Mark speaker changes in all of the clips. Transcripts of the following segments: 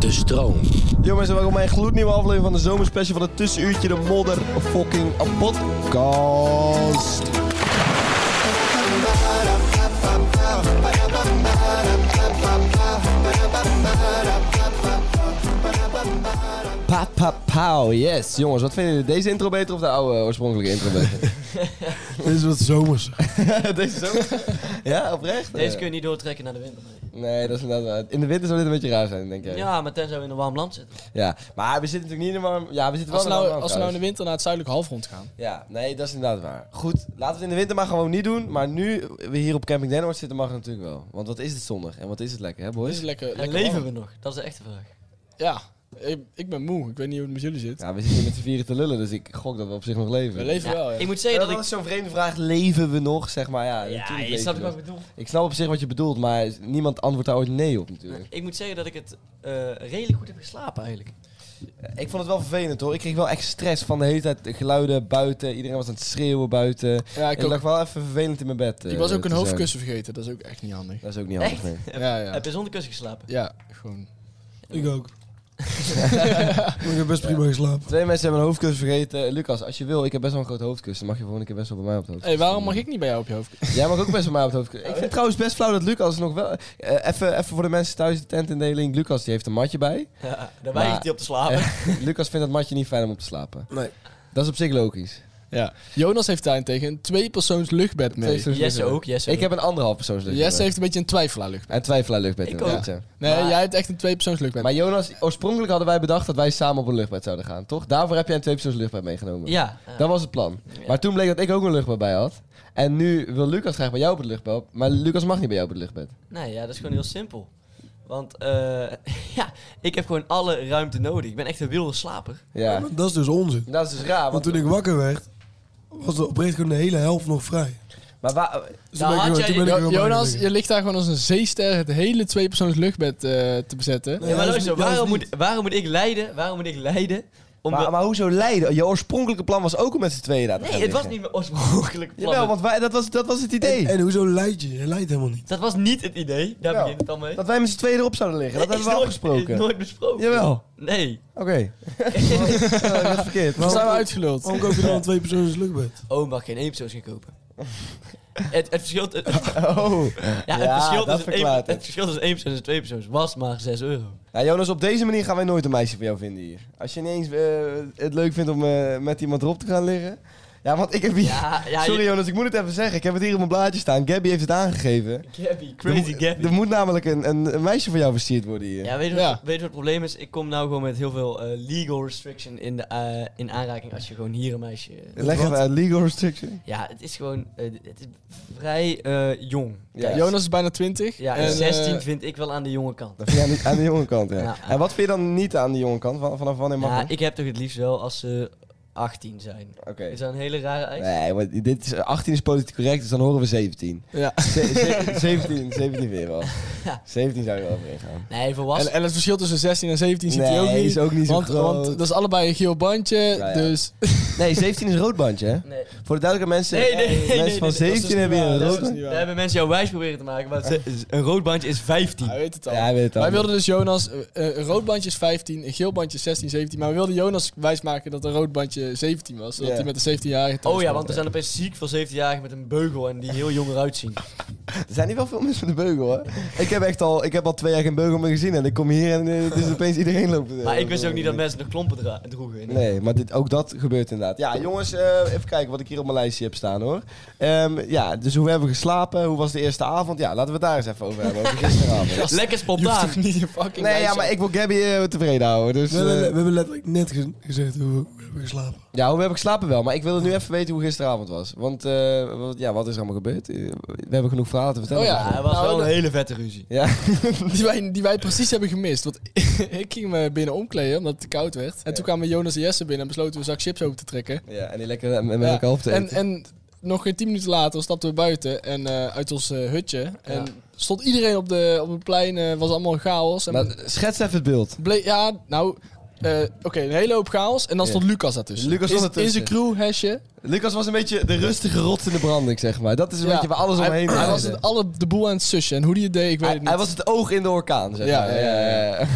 Speaker 1: De stroom.
Speaker 2: Yo mensen, welkom bij een gloednieuwe aflevering van de zomerspecial van het tussenuurtje de modder fucking podcast. Pa, pa, pauw, yes. Jongens, wat vinden jullie? Deze intro beter of de oude eh, oorspronkelijke intro beter?
Speaker 3: Dit is wat zomers.
Speaker 2: Deze zo? Ja, oprecht?
Speaker 1: Deze kun je niet doortrekken naar de winter. nee.
Speaker 2: Nee, dat is inderdaad waar. In de winter zou dit een beetje raar zijn, denk ik.
Speaker 1: Ja, maar tenzij we in een warm land zitten.
Speaker 2: Ja, maar we zitten natuurlijk niet in de warm... Ja, we zitten
Speaker 4: Als we
Speaker 2: wel in de
Speaker 4: nou,
Speaker 2: warm
Speaker 4: als we nou in de
Speaker 2: trouwens.
Speaker 4: winter naar het zuidelijk halfrond gaan.
Speaker 2: Ja, nee, dat is inderdaad waar. Goed, laten we het in de winter maar gewoon niet doen. Maar nu we hier op Camping Denhoord zitten, mag het natuurlijk wel. Want wat is het zonnig en wat is het lekker, Oh hè
Speaker 4: Is
Speaker 2: boys?
Speaker 4: het lekker,
Speaker 1: En
Speaker 4: lekker
Speaker 1: leven
Speaker 4: warm.
Speaker 1: we nog? Dat is de echte vraag.
Speaker 4: Ja. Ik, ik ben moe. Ik weet niet hoe het met jullie zit.
Speaker 2: Ja, we zitten hier met z'n vieren te lullen, dus ik gok dat we op zich nog leven.
Speaker 4: We leven wel, ja.
Speaker 1: Ik moet
Speaker 2: Ja,
Speaker 1: zeggen
Speaker 2: dat,
Speaker 1: dat ik...
Speaker 2: is zo'n vreemde vraag. Leven we nog, zeg maar. Ja,
Speaker 1: Ja,
Speaker 2: natuurlijk
Speaker 1: je
Speaker 2: leven
Speaker 1: snapt
Speaker 2: we
Speaker 1: wat
Speaker 2: nog.
Speaker 1: ik bedoel.
Speaker 2: Ik snap op zich wat je bedoelt, maar niemand antwoordt daar ooit nee op natuurlijk.
Speaker 1: Ik moet zeggen dat ik het eh, redelijk goed heb geslapen eigenlijk.
Speaker 2: Ik vond het wel vervelend hoor. Ik kreeg wel echt stress van de hele tijd de geluiden buiten. Iedereen was aan het schreeuwen buiten. ik
Speaker 4: Ja, ik, ook.
Speaker 2: lag wel even vervelend in mijn bed. eh,
Speaker 4: ik was ook een
Speaker 2: te zijn.
Speaker 4: hoofdkussen vergeten. Dat is ook echt niet handig.
Speaker 2: Dat is ook niet handig,
Speaker 1: Echt?
Speaker 2: nee.
Speaker 4: Ja, ja.
Speaker 1: Heb je zonder kussen geslapen?
Speaker 4: Ja, gewoon.
Speaker 3: Ik ook. ik heb best prima geslapen.
Speaker 2: Twee mensen hebben een hoofdkussen vergeten. Lucas, als je wil, ik heb best wel een groot hoofdkussen. Mag je volgende keer best wel bij mij op het
Speaker 4: Hé, hey,
Speaker 2: hoofdkussen?
Speaker 4: waarom mag ik niet bij jou op je hoofd?
Speaker 2: Jij mag ook best bij mij op het hoofdkussen. Ik vind het trouwens best flauw dat Lucas nog wel... eh, even, even voor de mensen thuis, de tentindeling. Lucas die heeft een matje bij.
Speaker 1: Ja, daar
Speaker 2: Maar-
Speaker 1: weigert hij op te slapen.
Speaker 2: Lucas vindt dat matje niet fijn om op te slapen.
Speaker 3: Nee.
Speaker 2: Dat is op zich logisch.
Speaker 4: Ja. Jonas heeft daarentegen een tweepersoons luchtbed mee.
Speaker 2: Twee
Speaker 1: Jesse ook, Jesse
Speaker 2: Ik
Speaker 1: ook.
Speaker 2: heb een anderhalf persoons luchtbed.
Speaker 4: Jesse heeft een beetje een twijfelaar luchtbed.
Speaker 2: En twijfelaar luchtbed.
Speaker 1: Ik
Speaker 2: inderdaad,
Speaker 1: ook.
Speaker 2: ja.
Speaker 4: Nee,
Speaker 1: Maar-
Speaker 4: jij hebt echt een tweepersoons luchtbed.
Speaker 2: Maar Jonas, oorspronkelijk hadden wij bedacht dat wij samen op een luchtbed zouden gaan, toch? Daarvoor heb jij een tweepersoons luchtbed meegenomen.
Speaker 1: Ja. ja.
Speaker 2: Dat was het plan. Maar toen bleek dat ik ook een luchtbed bij had. En nu wil Lucas graag bij jou op het luchtbed. Maar Lucas mag niet bij jou op het luchtbed.
Speaker 1: Nee, ja, dat is gewoon heel simpel. Want eh, ja, ik heb gewoon alle ruimte nodig. Ik ben echt een wilde slaper.
Speaker 2: Ja.
Speaker 3: Dat is dus onzin.
Speaker 2: Dat is dus raar.
Speaker 3: Want
Speaker 2: Want,
Speaker 3: toen ik wakker werd, was er oprecht gewoon de hele helft nog vrij.
Speaker 2: maar waar-
Speaker 3: Dus
Speaker 1: Nou,
Speaker 3: toen ben ik
Speaker 1: had
Speaker 3: gewoon-
Speaker 1: jij
Speaker 3: toen ben ik
Speaker 1: die-
Speaker 3: er
Speaker 4: Jo-
Speaker 3: gewoon bij
Speaker 4: Jonas,
Speaker 3: gaan
Speaker 4: je ligt daar gewoon als een zeester het hele tweepersoons luchtbed eh, te bezetten.
Speaker 3: Nee.
Speaker 1: Ja, maar
Speaker 3: dat is
Speaker 1: luister,
Speaker 3: niet- dat is
Speaker 1: waarom moet,
Speaker 3: niet.
Speaker 1: waarom moet ik lijden? Waarom moet ik lijden? Om
Speaker 2: maar,
Speaker 1: de-
Speaker 2: maar hoezo Leiden? Je oorspronkelijke plan was ook om met z'n tweeën daar te
Speaker 1: Nee,
Speaker 2: gaan
Speaker 1: het was
Speaker 2: liggen.
Speaker 1: niet mijn oorspronkelijke plan.
Speaker 2: Jawel, want wij, dat, was, dat was het idee.
Speaker 3: liggen. En hoezo leid je? Je leidt helemaal niet.
Speaker 1: Dat was niet het idee. Daar
Speaker 2: Jawel.
Speaker 1: begint het al mee.
Speaker 2: Dat wij met z'n tweeën erop zouden liggen. Dat
Speaker 1: Is
Speaker 2: hebben we
Speaker 1: nooit-
Speaker 2: afgesproken.
Speaker 1: is nooit besproken.
Speaker 2: Jawel. Oh,
Speaker 1: Nee.
Speaker 2: Oké. Ja, dat is verkeerd.
Speaker 4: Dat zijn we
Speaker 3: Waarom-
Speaker 4: uitgeluld.
Speaker 3: Waarom koop je dan een tweepersoons luchtbed?
Speaker 1: Oom Oh, mag geen eenpersoons gaan kopen. het, het verschil... Het,
Speaker 2: Oh.
Speaker 1: ja, het
Speaker 2: Ja,
Speaker 1: verschil
Speaker 2: dat
Speaker 1: tussen één-
Speaker 2: verklaart het.
Speaker 1: het verschil tussen eenpersoons en tweepersoons was maar 6 euro.
Speaker 2: Ja, Nou, Jonas, op deze manier gaan wij nooit een meisje voor jou vinden hier. Als je ineens eh, het leuk vindt om eh, met iemand erop te gaan liggen. Ja, want ik heb hier...
Speaker 1: Ja, ja,
Speaker 2: Sorry
Speaker 1: je-
Speaker 2: Jonas, ik moet het even zeggen. Ik heb het hier op mijn blaadje staan. Gabby heeft het aangegeven.
Speaker 1: Gabby, crazy
Speaker 2: er,
Speaker 1: Gabby.
Speaker 2: Er moet namelijk een, een, een meisje voor jou versierd worden hier.
Speaker 1: Ja, weet je, wat,
Speaker 4: Ja.
Speaker 1: weet je wat het probleem is? Ik kom nou gewoon met heel veel eh, legal restriction in, de, eh, in aanraking als je gewoon hier een meisje...
Speaker 2: Leg even uit, legal restriction.
Speaker 1: Ja, het is gewoon... eh, het is vrij eh, jong.
Speaker 2: Ja.
Speaker 4: Jonas is bijna 20.
Speaker 1: Ja,
Speaker 4: en,
Speaker 1: en
Speaker 4: eh,
Speaker 1: 16 vind ik wel aan de jonge kant.
Speaker 2: Dat vind je aan, die- aan de jonge kant, ja.
Speaker 1: Ja.
Speaker 2: En wat vind je dan niet aan de jonge kant? Van- Vanaf wanneer mag
Speaker 1: Ja,
Speaker 2: dat?
Speaker 1: ik heb toch het liefst wel als ze 18 zijn.
Speaker 2: Oké.
Speaker 1: Is dat een hele rare eis?
Speaker 2: Nee, want dit is, 18 is politiek correct, dus dan horen we 17.
Speaker 4: Ja.
Speaker 2: Ze- ze- 17, 17 weer wel.
Speaker 1: Ja.
Speaker 2: 17 zou je wel overheen gaan.
Speaker 1: Nee,
Speaker 4: En,
Speaker 1: volwassen.
Speaker 4: en het verschil tussen 16 en 17 ziet hij ook
Speaker 2: Nee,
Speaker 4: niet.
Speaker 2: is ook niet zo
Speaker 4: want,
Speaker 2: groot.
Speaker 4: want dat is allebei een geel bandje.
Speaker 2: ja.
Speaker 4: Dus
Speaker 2: Nee, 17 is een rood bandje, hè?
Speaker 1: Nee.
Speaker 2: Voor de duidelijke mensen,
Speaker 1: Nee, nee, nee,
Speaker 2: mensen
Speaker 1: nee,
Speaker 2: van
Speaker 1: nee, nee,
Speaker 2: 17 hebben hier een
Speaker 4: dat
Speaker 2: rood
Speaker 4: is dus
Speaker 2: bandje.
Speaker 4: niet
Speaker 1: Daar
Speaker 4: waar.
Speaker 1: hebben mensen jou wijs proberen te maken, maar ze- een rood bandje is 15.
Speaker 4: Hij weet het al.
Speaker 2: Ja, hij weet het al.
Speaker 4: Wij wilden dus Jonas, eh, eh, een rood bandje is 15, een geel bandje is 16, 17. Maar we wilden Jonas wijsmaken dat een rood bandje eh, 17 was. Dat
Speaker 2: Ja.
Speaker 4: hij met de 17-jarige thuis
Speaker 1: Oh ja,
Speaker 4: kwam.
Speaker 1: want er zijn opeens ziek van 17-jarigen met een beugel en die heel jong eruit zien.
Speaker 2: Er zijn niet wel veel mensen met een beugel, hoor. Ik heb echt al, ik heb al twee jaar geen beugel meer gezien en ik kom hier en eh, het is opeens iedereen lopen.
Speaker 1: Maar ik wist ook niet dat mensen nog klompen dra- droegen. in.
Speaker 2: Nee, maar dit, ook dat gebeurt inderdaad. Ja, jongens, eh, even kijken wat ik hier op mijn lijstje heb staan, hoor. Ehm, ja, dus hoe hebben we geslapen? Hoe was de eerste avond? Ja, laten we het daar eens even over hebben, over gisteravond.
Speaker 1: Lekker
Speaker 4: Je hoeft
Speaker 1: spontaan.
Speaker 4: toch niet je fucking
Speaker 2: Nee, ja,
Speaker 4: lijstje-
Speaker 2: maar ik wil Gabby eh, tevreden houden, dus...
Speaker 3: We, hebben- we
Speaker 2: eh,
Speaker 3: hebben letterlijk net ge- gezegd hoe we, we hebben geslapen.
Speaker 2: Ja, hoe heb ik slapen wel? Maar ik wilde nu even weten hoe gisteravond was. Want eh, wat, ja, wat is er allemaal gebeurd? Eh, We hebben genoeg verhalen te vertellen. Dus, eh,
Speaker 4: Oh
Speaker 1: Ja, het
Speaker 4: Nou,
Speaker 1: was wel
Speaker 4: dat-
Speaker 1: een hele vette ruzie.
Speaker 2: Ja.
Speaker 4: Die wij, die wij precies hebben gemist. Want ik ging me binnen omkleden omdat het te koud werd. En toen kwamen Jonas en Jesse binnen en besloten we een zak chips open te trekken.
Speaker 2: ja, en die lekker eh, met
Speaker 4: Ja,
Speaker 2: elkaar op te
Speaker 4: en,
Speaker 2: eten.
Speaker 4: en nog geen tien minuten later stapten we buiten en eh, uit ons eh, hutje. En stond iedereen op, de, op het plein, eh, was allemaal chaos. En
Speaker 2: maar schets even het beeld.
Speaker 4: bleek- ja, nou, eh, oké, een hele hoop chaos. En dan
Speaker 2: Ja.
Speaker 4: stond Lucas daartussen.
Speaker 2: Lucas
Speaker 4: in,
Speaker 2: stond
Speaker 4: in
Speaker 2: ertussen.
Speaker 4: zijn crew hesje.
Speaker 2: Lucas was een beetje de rustige rots in de branding, zeg maar. Dat is een
Speaker 4: Ja.
Speaker 2: beetje waar alles
Speaker 4: Hij-
Speaker 2: omheen
Speaker 4: Hij, was
Speaker 2: draaide.
Speaker 4: het, alle, de boel aan het sussen. En hoe die het deed, ik weet
Speaker 2: Hij,
Speaker 4: het niet.
Speaker 2: hij was het oog in de orkaan, zeg
Speaker 4: Ja,
Speaker 2: maar.
Speaker 4: ja, ja,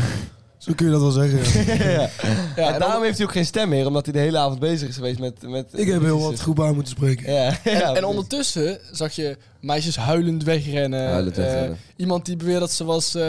Speaker 3: Zo kun je dat wel zeggen. ja.
Speaker 4: Ja,
Speaker 2: En
Speaker 4: en
Speaker 2: daarom heeft hij ook geen stem meer, omdat hij de hele avond bezig is geweest met... met
Speaker 3: ik heb heel wat goed aan moeten spreken.
Speaker 2: Ja, ja,
Speaker 4: En, en
Speaker 2: precies.
Speaker 4: ondertussen zag je meisjes huilend wegrennen.
Speaker 2: Huilend
Speaker 4: Eh,
Speaker 2: wegrennen.
Speaker 4: iemand die beweerde dat ze was, eh,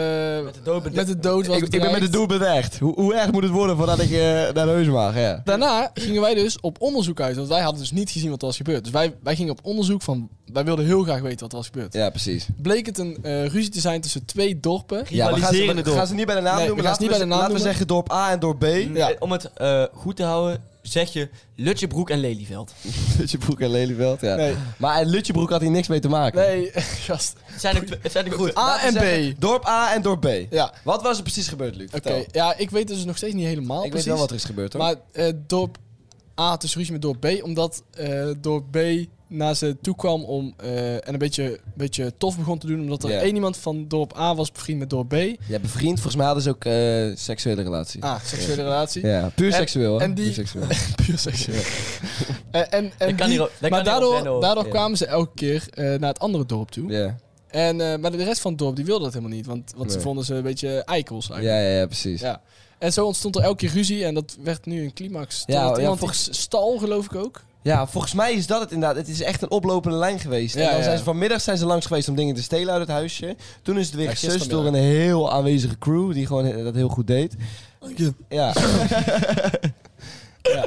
Speaker 1: Met de dood bede-
Speaker 4: met de dood was
Speaker 2: Ik, ik ben met de
Speaker 4: bedreigd.
Speaker 2: doel bewerkt. Hoe, hoe erg moet het worden voordat ik eh, naar de heus mag? Ja.
Speaker 4: Daarna gingen wij dus op onderzoek uit, want wij hadden dus niet gezien wat er was gebeurd. Dus wij, wij gingen op onderzoek van, wij wilden heel graag weten wat er was gebeurd.
Speaker 2: ja, precies.
Speaker 4: Bleek het een eh, ruzie te zijn tussen twee dorpen.
Speaker 2: Ja, we gaan ze,
Speaker 1: Rivaliserende
Speaker 2: we gaan ze niet bij de naam
Speaker 4: Nee,
Speaker 2: noemen.
Speaker 4: we gaan
Speaker 2: laten
Speaker 4: ze niet bij de naam
Speaker 2: laten we
Speaker 4: noemen.
Speaker 2: zeggen dorp A en dorp B.
Speaker 4: Ja.
Speaker 1: Eh, Om het eh, goed te houden, zeg je Lutjebroek en Lelyveld.
Speaker 2: Lutjebroek en Lelyveld, ja.
Speaker 4: Nee.
Speaker 2: Maar eh, Lutjebroek had hier niks mee te maken.
Speaker 4: Nee, gast.
Speaker 1: Het zijn er, tw- het zijn er goed.
Speaker 4: A
Speaker 2: Laten
Speaker 4: en
Speaker 2: we zeggen,
Speaker 4: B.
Speaker 2: Dorp A en dorp B.
Speaker 4: Ja, oké.
Speaker 2: Wat was er precies gebeurd, Luc? Vertel.
Speaker 4: Ja, ik weet dus nog steeds niet helemaal
Speaker 2: Ik weet
Speaker 4: precies.
Speaker 2: wel wat er is gebeurd, hoor.
Speaker 4: Maar eh, dorp A had dus ruzie met dorp B, omdat eh, dorp B naar ze toe kwam om, eh, en een beetje, beetje tof begon te doen, omdat er
Speaker 2: Ja.
Speaker 4: één iemand van dorp A was bevriend met dorp B.
Speaker 2: Ja, bevriend. Volgens mij hadden ze ook eh, seksuele relatie.
Speaker 4: Ah, seksuele relatie.
Speaker 2: Ja, puur
Speaker 4: En-
Speaker 2: seksueel, hè?
Speaker 4: en die-
Speaker 2: Puur seksueel.
Speaker 4: Puur seksueel. en, en, en
Speaker 1: Dat kan
Speaker 4: die-
Speaker 1: hier ook- dat
Speaker 4: maar
Speaker 1: kan hier ook wennen,
Speaker 4: daardoor,
Speaker 1: hoor.
Speaker 4: daardoor
Speaker 2: Ja.
Speaker 4: kwamen ze elke keer eh, naar het andere dorp toe.
Speaker 2: Ja.
Speaker 4: En, eh, maar de rest van het dorp die wilde dat helemaal niet, want, want ze
Speaker 2: Nee.
Speaker 4: vonden ze een beetje eikels
Speaker 2: Ja,
Speaker 4: eigenlijk.
Speaker 2: ja, ja, precies.
Speaker 4: Ja. En zo ontstond er elke keer ruzie en dat werd nu een climax.
Speaker 2: Ja,
Speaker 4: Ja,
Speaker 2: ja,
Speaker 4: iemand
Speaker 2: volgens-
Speaker 4: volgens stal geloof ik ook.
Speaker 2: Ja, volgens mij is dat het inderdaad. Het is echt een oplopende lijn geweest. en
Speaker 4: Ja,
Speaker 2: dan
Speaker 4: ja.
Speaker 2: zijn ze vanmiddag zijn ze langs geweest om dingen te stelen uit het huisje. Toen is het weer
Speaker 4: Ja,
Speaker 2: gesust door
Speaker 4: gistermiddag.
Speaker 2: een heel aanwezige crew die gewoon eh, dat heel goed deed.
Speaker 3: Dank je.
Speaker 2: Ja. ja.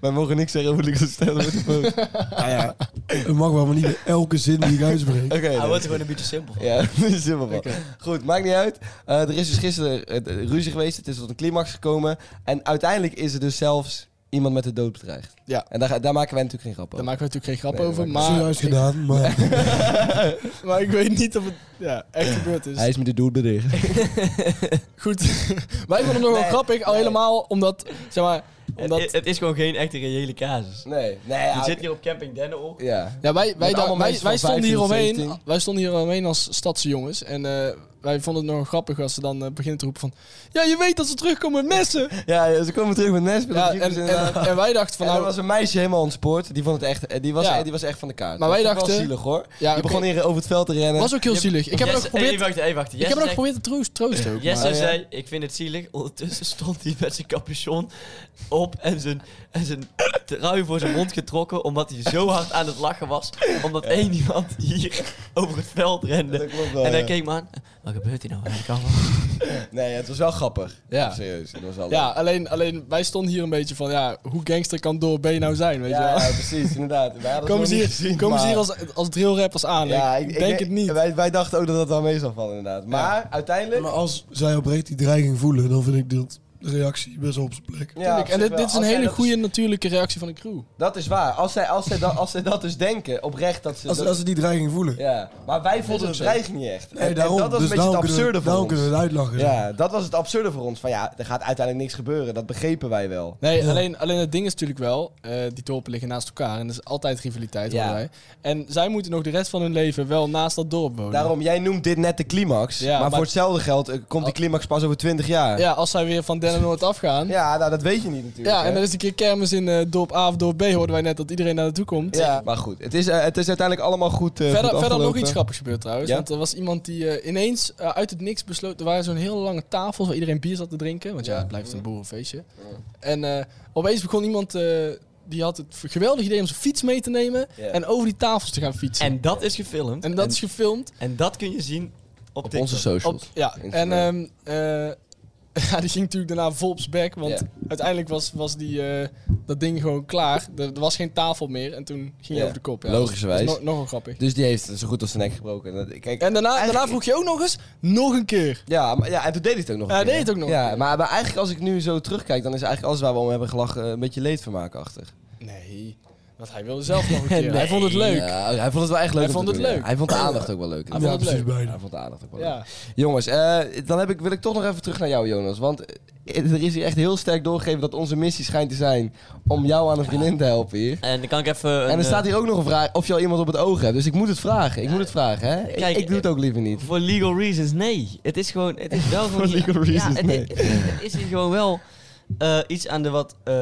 Speaker 2: Wij mogen niks zeggen over Lucas Stijl. Oké.
Speaker 4: Ah,
Speaker 3: Het mag wel, maar niet bij elke zin die ik uitspreek.
Speaker 1: Hij
Speaker 2: nee.
Speaker 1: wordt er gewoon een beetje simpel van.
Speaker 2: Ja, dat is helemaal wel. Goed, maakt niet uit. Eh, er is dus gisteren eh, de- ruzie geweest. Het is tot een climax gekomen. En uiteindelijk is er dus zelfs iemand met de dood bedreigd.
Speaker 4: Ja.
Speaker 2: En daar, ga- daar maken wij natuurlijk geen grap
Speaker 4: Daar
Speaker 2: over.
Speaker 4: maken we natuurlijk geen grap
Speaker 2: Nee,
Speaker 4: over,
Speaker 2: dat
Speaker 4: maar
Speaker 3: Zojuist gedaan, maar
Speaker 4: Ik, maar ik weet niet of het ja, echt gebeurd is.
Speaker 2: Hij is met de dood bedreigd.
Speaker 4: Goed, wij vonden het nog wel
Speaker 2: Nee,
Speaker 4: grappig, al
Speaker 2: nee.
Speaker 4: helemaal omdat, zeg maar,
Speaker 1: Het,
Speaker 4: omdat...
Speaker 1: Eh, het is gewoon geen echte reële casus.
Speaker 2: Nee, nee. Ja,
Speaker 1: Je zit hier op camping Dennen op.
Speaker 2: ja.
Speaker 4: Ja, wij, wij,
Speaker 2: Met allemaal
Speaker 4: wij, wij,
Speaker 2: mensen van
Speaker 4: stonden
Speaker 2: 15,
Speaker 4: hier omheen,
Speaker 2: 17.
Speaker 4: wij stonden hier omheen als stadse jongens. En eh, wij vonden het nog grappig als ze dan eh, beginnen te roepen van... Ja, je weet dat ze terugkomen met messen!
Speaker 2: Ja, ja, ze komen terug met Nesp.
Speaker 4: Ja, en, en, en wij dachten van...
Speaker 2: er
Speaker 4: Nou,
Speaker 2: was een meisje helemaal ontspoord. Die, vond het echt, eh, die, was,
Speaker 4: Ja.
Speaker 2: eh, die was echt van de kaart.
Speaker 4: Maar wij
Speaker 2: Dat vond ik
Speaker 4: dachten-
Speaker 2: Wel zielig hoor.
Speaker 4: Ja,
Speaker 2: die
Speaker 4: oké.
Speaker 2: begon hier over het veld te rennen.
Speaker 4: was ook heel zielig. Ik heb hem ook
Speaker 1: Jesse- Even
Speaker 4: geprobeerd...
Speaker 1: wachten, even wachten.
Speaker 4: Ik heb hem ook
Speaker 1: Jesse
Speaker 4: geprobeerd te troost, troosten ook.
Speaker 1: zegt- Jesse
Speaker 4: maar- eh,
Speaker 2: ja.
Speaker 1: zei, ik vind het zielig. Ondertussen stond hij met zijn capuchon op en zijn, en zijn trui voor zijn mond getrokken. Omdat hij zo hard aan het lachen was. Omdat één iemand hier over het veld rende.
Speaker 2: Dat klopt wel,
Speaker 1: en hij
Speaker 2: ja.
Speaker 1: keek me aan. Wat gebeurt hier nou eigenlijk allemaal?
Speaker 2: Nee, ja, het was wel grappig.
Speaker 4: Ja.
Speaker 2: Serieus, het was wel
Speaker 4: Ja, alleen, alleen wij stonden hier een beetje van... Ja, hoe gangster kan door B nou zijn, weet
Speaker 2: leuk.
Speaker 4: je wel?
Speaker 2: Ja, ja, precies, inderdaad. Wij hadden
Speaker 4: Komen
Speaker 2: het
Speaker 4: ze
Speaker 2: nog
Speaker 4: hier,
Speaker 2: niet gezien,
Speaker 4: komen ze hier
Speaker 2: maar-
Speaker 4: als, als drillrappers aan?
Speaker 2: Ja,
Speaker 4: ik, denk het niet.
Speaker 2: Wij, wij dachten ook dat dat wel mee zou vallen, inderdaad. Maar uiteindelijk.
Speaker 3: maar als zij oprecht die dreiging voelen, dan vind ik dat de reactie best wel op zijn plek.
Speaker 2: Ja,
Speaker 4: Tuurlijk.
Speaker 2: op
Speaker 4: en
Speaker 2: zich
Speaker 4: dit,
Speaker 2: wel.
Speaker 4: dit is een
Speaker 2: Als zij
Speaker 4: hele
Speaker 2: dat-
Speaker 4: goede natuurlijke reactie van de crew.
Speaker 2: Dat is waar. Als zij, als, zij dat, als zij dat dus denken, oprecht dat ze.
Speaker 3: Als,
Speaker 2: dat-
Speaker 3: als ze die dreiging voelen.
Speaker 2: ja. Maar wij voelden de dreiging niet echt. En-
Speaker 3: Nee, daarom.
Speaker 2: en dat was
Speaker 3: dus
Speaker 2: een beetje
Speaker 3: daarom
Speaker 2: het
Speaker 3: kunnen we-
Speaker 2: absurde voor
Speaker 3: daarom
Speaker 2: ons.
Speaker 3: kunnen we het uitlachen.
Speaker 2: Ja, dat was het absurde voor ons. Van ja, er gaat uiteindelijk niks gebeuren. Dat begrepen wij
Speaker 3: Oh,
Speaker 2: wel.
Speaker 4: Nee, alleen, alleen het ding is natuurlijk wel, eh, die dorpen liggen naast elkaar en dat is altijd rivaliteit.
Speaker 2: Ja.
Speaker 4: horen wij. En zij moeten nog de rest van hun leven wel naast dat dorp wonen.
Speaker 2: Daarom, jij noemt dit net de climax.
Speaker 4: Ja,
Speaker 2: maar,
Speaker 4: maar- Oh.
Speaker 2: voor hetzelfde geld eh, komt die climax pas over 20 jaar.
Speaker 4: Ja, als zij weer van Den Noord afgaan. Ja,
Speaker 2: Ja, nou dat weet je niet natuurlijk. hè.
Speaker 4: en er is een keer kermis in eh, dorp A of dorp B, hoorden wij net dat iedereen naar naartoe komt.
Speaker 2: ja. Maar goed, het is, eh, het is uiteindelijk allemaal goed. eh,
Speaker 4: Verder,
Speaker 2: goed
Speaker 4: verder nog
Speaker 2: afgelopen.
Speaker 4: iets grappigs gebeurd trouwens.
Speaker 2: Ja?
Speaker 4: Want er was iemand die eh, ineens eh, uit het niks besloot. Er waren zo'n hele lange tafels waar iedereen bier zat te drinken. Want ja, het blijft een boerenfeestje. En eh, opeens begon iemand eh, die had het geweldige idee om zijn fiets mee te nemen
Speaker 2: Ja.
Speaker 4: en over die tafels te gaan fietsen.
Speaker 1: En dat is gefilmd.
Speaker 4: En dat is gefilmd.
Speaker 1: en dat kun je zien op,
Speaker 2: Op
Speaker 1: TikTok.
Speaker 2: onze socials.
Speaker 4: Op, ja, en ehm, eh, ja, die ging natuurlijk daarna volps back, want
Speaker 2: Ja.
Speaker 4: uiteindelijk was, was die, eh, dat ding gewoon klaar. Er, er was geen tafel meer en toen ging hij
Speaker 2: Ja.
Speaker 4: over de kop. Ja.
Speaker 2: Logischerwijs.
Speaker 4: Dat is no- nogal grappig.
Speaker 2: Dus die heeft zo goed als zijn nek gebroken. En dat- Kijk,
Speaker 4: En daarna, daarna
Speaker 2: eigenlijk-
Speaker 4: vroeg je ook nog eens, nog een keer.
Speaker 2: Ja, maar, ja, en toen deed hij het ook nog. een
Speaker 4: Ja, hij
Speaker 2: keer,
Speaker 4: deed
Speaker 2: hè?
Speaker 4: het ook nog een
Speaker 2: Ja,
Speaker 4: keer.
Speaker 2: maar, maar eigenlijk als ik nu zo terugkijk, dan is eigenlijk alles waar we om hebben gelachen eh, een beetje leedvermaak achter.
Speaker 4: Nee, want hij wilde zelf nog een keer. Hij vond het
Speaker 2: Nee,
Speaker 4: leuk.
Speaker 2: ja, hij vond het wel echt
Speaker 4: Hij
Speaker 2: leuk. om te
Speaker 4: vond het
Speaker 2: doen, ja.
Speaker 4: leuk.
Speaker 2: Hij vond de aandacht ook wel leuk.
Speaker 4: Hij
Speaker 3: ja,
Speaker 4: vond het
Speaker 3: precies
Speaker 4: leuk.
Speaker 3: beide.
Speaker 2: Hij vond de aandacht ook wel leuk.
Speaker 4: Ja.
Speaker 2: Jongens, eh, dan heb ik, wil ik toch nog even terug naar jou, Jonas. Want eh, er is hier echt heel sterk doorgegeven dat onze missie schijnt te zijn om jou aan een vriendin te helpen hier.
Speaker 1: En dan kan ik even... een,
Speaker 2: En er
Speaker 1: eh,
Speaker 2: staat hier ook nog een vraag of je al iemand op het oog hebt. Dus ik moet het vragen. Ik moet het vragen, hè? Ik-
Speaker 1: Kijk,
Speaker 2: ik
Speaker 4: eh,
Speaker 2: doe het ook liever niet.
Speaker 1: Voor legal reasons, nee. Het is gewoon, het is wel gewoon...
Speaker 2: legal
Speaker 1: ja,
Speaker 2: reasons,
Speaker 1: het,
Speaker 2: nee.
Speaker 1: het- het is hier gewoon wel eh, iets aan de wat eh,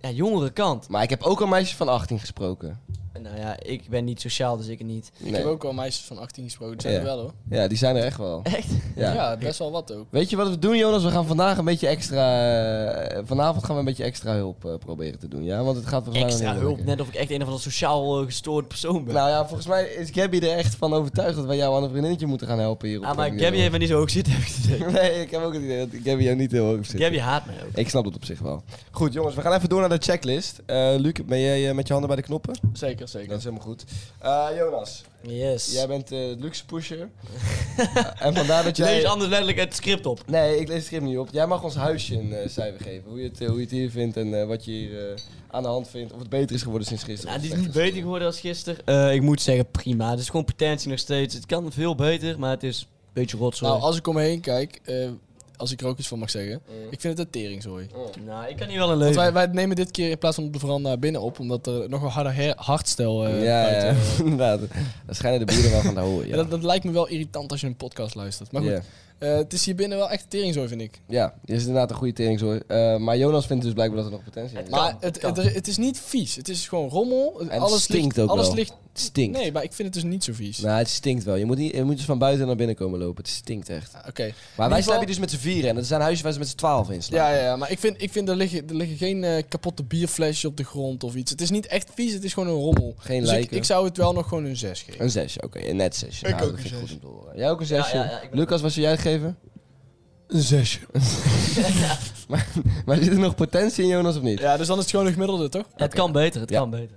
Speaker 1: ja, jongere kant.
Speaker 2: Maar ik heb ook al meisjes van 18 gesproken.
Speaker 1: Nou ja, ik ben niet sociaal, dus ik niet.
Speaker 4: Ik heb ook al meisjes van 18 gesproken, dat zijn
Speaker 2: Ja.
Speaker 4: er wel hoor.
Speaker 2: Ja, die zijn er echt wel.
Speaker 1: Echt?
Speaker 4: Ja.
Speaker 2: Ja.
Speaker 4: best wel wat ook.
Speaker 2: Weet je wat we doen, Jonas? We gaan vandaag een beetje extra... eh, vanavond gaan we een beetje extra hulp eh, proberen te doen, ja? Want het gaat volgens mij... wel
Speaker 1: Extra
Speaker 2: heel
Speaker 1: hulp.
Speaker 2: lekker.
Speaker 1: Net of ik echt een of andere sociaal eh, gestoord persoon ben.
Speaker 2: Nou ja, volgens mij is Gabby er echt van overtuigd dat wij jou aan een vriendinnetje moeten gaan helpen hier. op
Speaker 1: ah, maar
Speaker 2: Radio.
Speaker 1: Gabby heeft me niet zo hoog zitten, heb ik het idee.
Speaker 2: Nee, ik heb ook het idee dat Gabby jou niet heel hoog zit.
Speaker 1: Gabby haat mij ook.
Speaker 2: Ik snap het op zich wel. Goed, jongens, we gaan even door naar de checklist. Eh Luc, ben jij eh, met je handen bij de knoppen?
Speaker 4: Zeker,
Speaker 2: Dat
Speaker 4: zeker.
Speaker 2: is helemaal goed. Eh, Jonas,
Speaker 1: Yes.
Speaker 2: jij bent eh, de luxe pusher. Eh, en vandaar dat jij...
Speaker 1: Lees anders letterlijk het script op.
Speaker 2: Nee, ik lees het script niet op. Jij mag ons huisje een eh, cijfer geven. Hoe je, het, eh, hoe je het hier vindt en eh, wat je hier eh, aan de hand vindt. Of het beter is geworden sinds gisteren.
Speaker 1: Nou,
Speaker 2: of
Speaker 1: die is
Speaker 2: slechter
Speaker 1: niet beter geworden als gisteren. Eh, ik moet zeggen, prima. Het is gewoon potentie nog steeds. Het kan veel beter, maar het is een beetje rotzooi.
Speaker 4: Nou, als ik om me heen kijk, eh, als ik er ook iets van mag zeggen, ik vind het een teringzooi.
Speaker 1: Nou, ik kan hier wel een
Speaker 4: Want
Speaker 1: leven.
Speaker 4: wij, wij nemen dit keer in plaats van op de veranda binnen op, omdat er nog een harder her- hardstel eh
Speaker 2: Ja,
Speaker 4: buiten-
Speaker 2: ja, inderdaad. Daar schijnen de buren wel van te horen.
Speaker 4: En
Speaker 2: Ja.
Speaker 4: Dat, dat lijkt me wel irritant als je een podcast luistert. Maar goed,
Speaker 2: Ja.
Speaker 4: eh, het is hier binnen wel echt een teringzooi, vind ik.
Speaker 2: Ja, dit is inderdaad een goede tering. hoor. Eh, maar Jonas vindt dus blijkbaar dat er nog potentie in is.
Speaker 4: Maar het, het, er- het is niet vies. Het is gewoon rommel.
Speaker 2: En
Speaker 4: alles
Speaker 2: het stinkt
Speaker 4: ligt,
Speaker 2: ook
Speaker 4: alles
Speaker 2: wel.
Speaker 4: Ligt,
Speaker 2: Het stinkt.
Speaker 4: nee, maar ik vind het dus niet zo vies.
Speaker 2: Nou, het stinkt wel. Je moet, niet, je moet dus van buiten naar binnen komen lopen. Het stinkt echt.
Speaker 4: Oké.
Speaker 2: Maar wij
Speaker 4: geval-
Speaker 2: slapen hier dus met z'n vieren. En dat zijn huisjes waar ze met z'n twaalf in slapen.
Speaker 4: Ja, ja, ja, maar ik vind, ik vind er, liggen, er liggen geen eh, kapotte bierflesjes op de grond of iets. Het is niet echt vies, het is gewoon een rommel.
Speaker 2: Geen
Speaker 4: dus ik,
Speaker 2: lijken.
Speaker 4: ik zou het wel nog gewoon een 6 geven.
Speaker 2: Een zesje, oké. Een net zesje.
Speaker 3: Ik
Speaker 2: Nou, dat
Speaker 3: ook een
Speaker 2: vind ik
Speaker 3: zesje.
Speaker 2: goed om te horen. Jij ook een zesje?
Speaker 1: Ja, ja, ja, ik ben-
Speaker 2: Lucas, wat zou jij geven?
Speaker 3: Een zesje.
Speaker 2: Maar zit er nog potentie in, Jonas, of niet?
Speaker 4: Ja, dus dan is het gewoon een gemiddelde, toch?
Speaker 1: Het kan beter, het
Speaker 2: Ja.
Speaker 1: kan beter.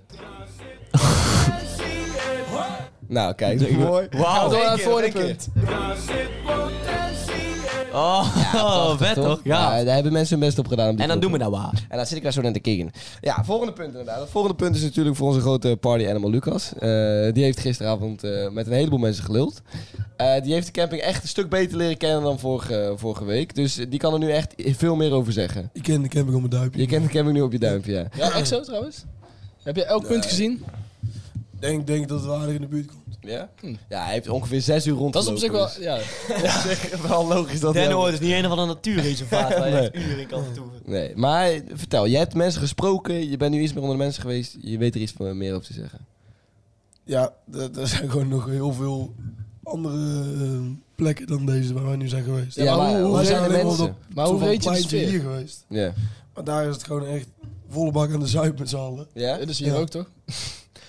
Speaker 2: Nou, kijk. Mooi.
Speaker 4: Gaan we door naar het
Speaker 2: keer,
Speaker 4: volgende
Speaker 2: één keer.
Speaker 4: punt.
Speaker 1: Oh, vet toch? Ja.
Speaker 2: Nou, daar hebben mensen hun best op gedaan. op die
Speaker 1: En dan doen
Speaker 2: groep.
Speaker 1: we nou waar.
Speaker 2: En dan zit ik daar zo naar te kijken. Ja, volgende punt inderdaad. Het volgende punt is natuurlijk voor onze grote party animal Lucas. Eh, die heeft gisteravond eh, met een heleboel mensen geluld. Eh, die heeft de camping echt een stuk beter leren kennen dan vorige, vorige week. Dus die kan er nu echt veel meer over zeggen.
Speaker 3: Ik ken de camping op mijn duimpje.
Speaker 2: Je kent de camping nu op je duimpje, ja.
Speaker 4: Ja, echt zo trouwens? Heb je elk punt gezien?
Speaker 3: Ik denk, denk dat het wel aardig in de buurt komt.
Speaker 2: Ja, ja hij heeft ongeveer zes uur dus- rond.
Speaker 4: Hm. Dat is op zich wel... Ja.
Speaker 2: wel logisch dat hij-
Speaker 1: Denno is niet een van de natuurreservaat waar je echt uren in kan toeven.
Speaker 2: Nee, maar vertel. Je hebt mensen gesproken. Je bent nu iets meer onder de mensen geweest. Je weet er iets van- meer over te zeggen.
Speaker 3: Ja, er er zijn gewoon nog heel veel andere eh, plekken dan deze waar wij nu zijn geweest.
Speaker 2: Ja, maar hoe
Speaker 3: wij
Speaker 2: zijn de
Speaker 3: alleen maar op
Speaker 2: mensen?
Speaker 3: dat
Speaker 4: Maar hoe
Speaker 3: soort
Speaker 4: weet je de
Speaker 3: pleintje
Speaker 4: sfeer?
Speaker 3: hier geweest.
Speaker 2: Ja.
Speaker 3: Maar daar is het gewoon echt volle bak aan de zuip met z'n allen.
Speaker 2: Ja?
Speaker 4: Dat is dus hier
Speaker 3: Ja.
Speaker 4: ook, toch?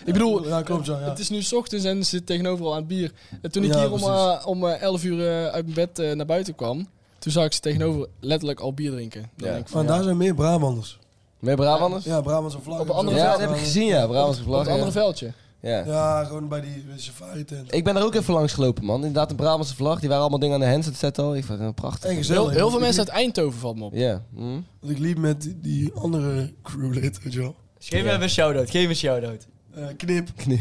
Speaker 4: Ik bedoel,
Speaker 3: Ja, klopt, ja, ja.
Speaker 4: het is nu 's ochtends en ze zit tegenover al aan het bier. En toen ik
Speaker 3: Ja,
Speaker 4: hier om,
Speaker 3: precies.
Speaker 4: eh, om eh, 11 uur eh, uit mijn bed eh, naar buiten kwam, toen zag ik ze tegenover letterlijk al bier drinken. Dan
Speaker 2: Ja.
Speaker 4: denk ik van,
Speaker 3: Maar daar zijn meer Brabanders.
Speaker 2: Meer Brabanders?
Speaker 3: Ja, Brabantse vlaggen.
Speaker 4: Op een andere
Speaker 2: Ja,
Speaker 3: Zo.
Speaker 2: dat heb ik gezien, ja. Brabants
Speaker 4: op het
Speaker 2: gevlaggen.
Speaker 4: andere veldje.
Speaker 2: Ja.
Speaker 3: Ja, gewoon bij die safari tent.
Speaker 2: Ik ben daar ook even langs gelopen, man. Inderdaad, een Brabantse vlag. Die waren allemaal dingen aan de handset zetten al. Ik vond het prachtig.
Speaker 3: En
Speaker 4: Heel,
Speaker 3: gezellig.
Speaker 4: heel veel mensen uit Eindhoven valt me op.
Speaker 2: Ja. hm.
Speaker 3: Want ik liep met die- die andere crewlid, weet je wel.
Speaker 1: Dus geef me even een shout-out, geef me een shout-out.
Speaker 3: Eh, knip,
Speaker 2: Knip.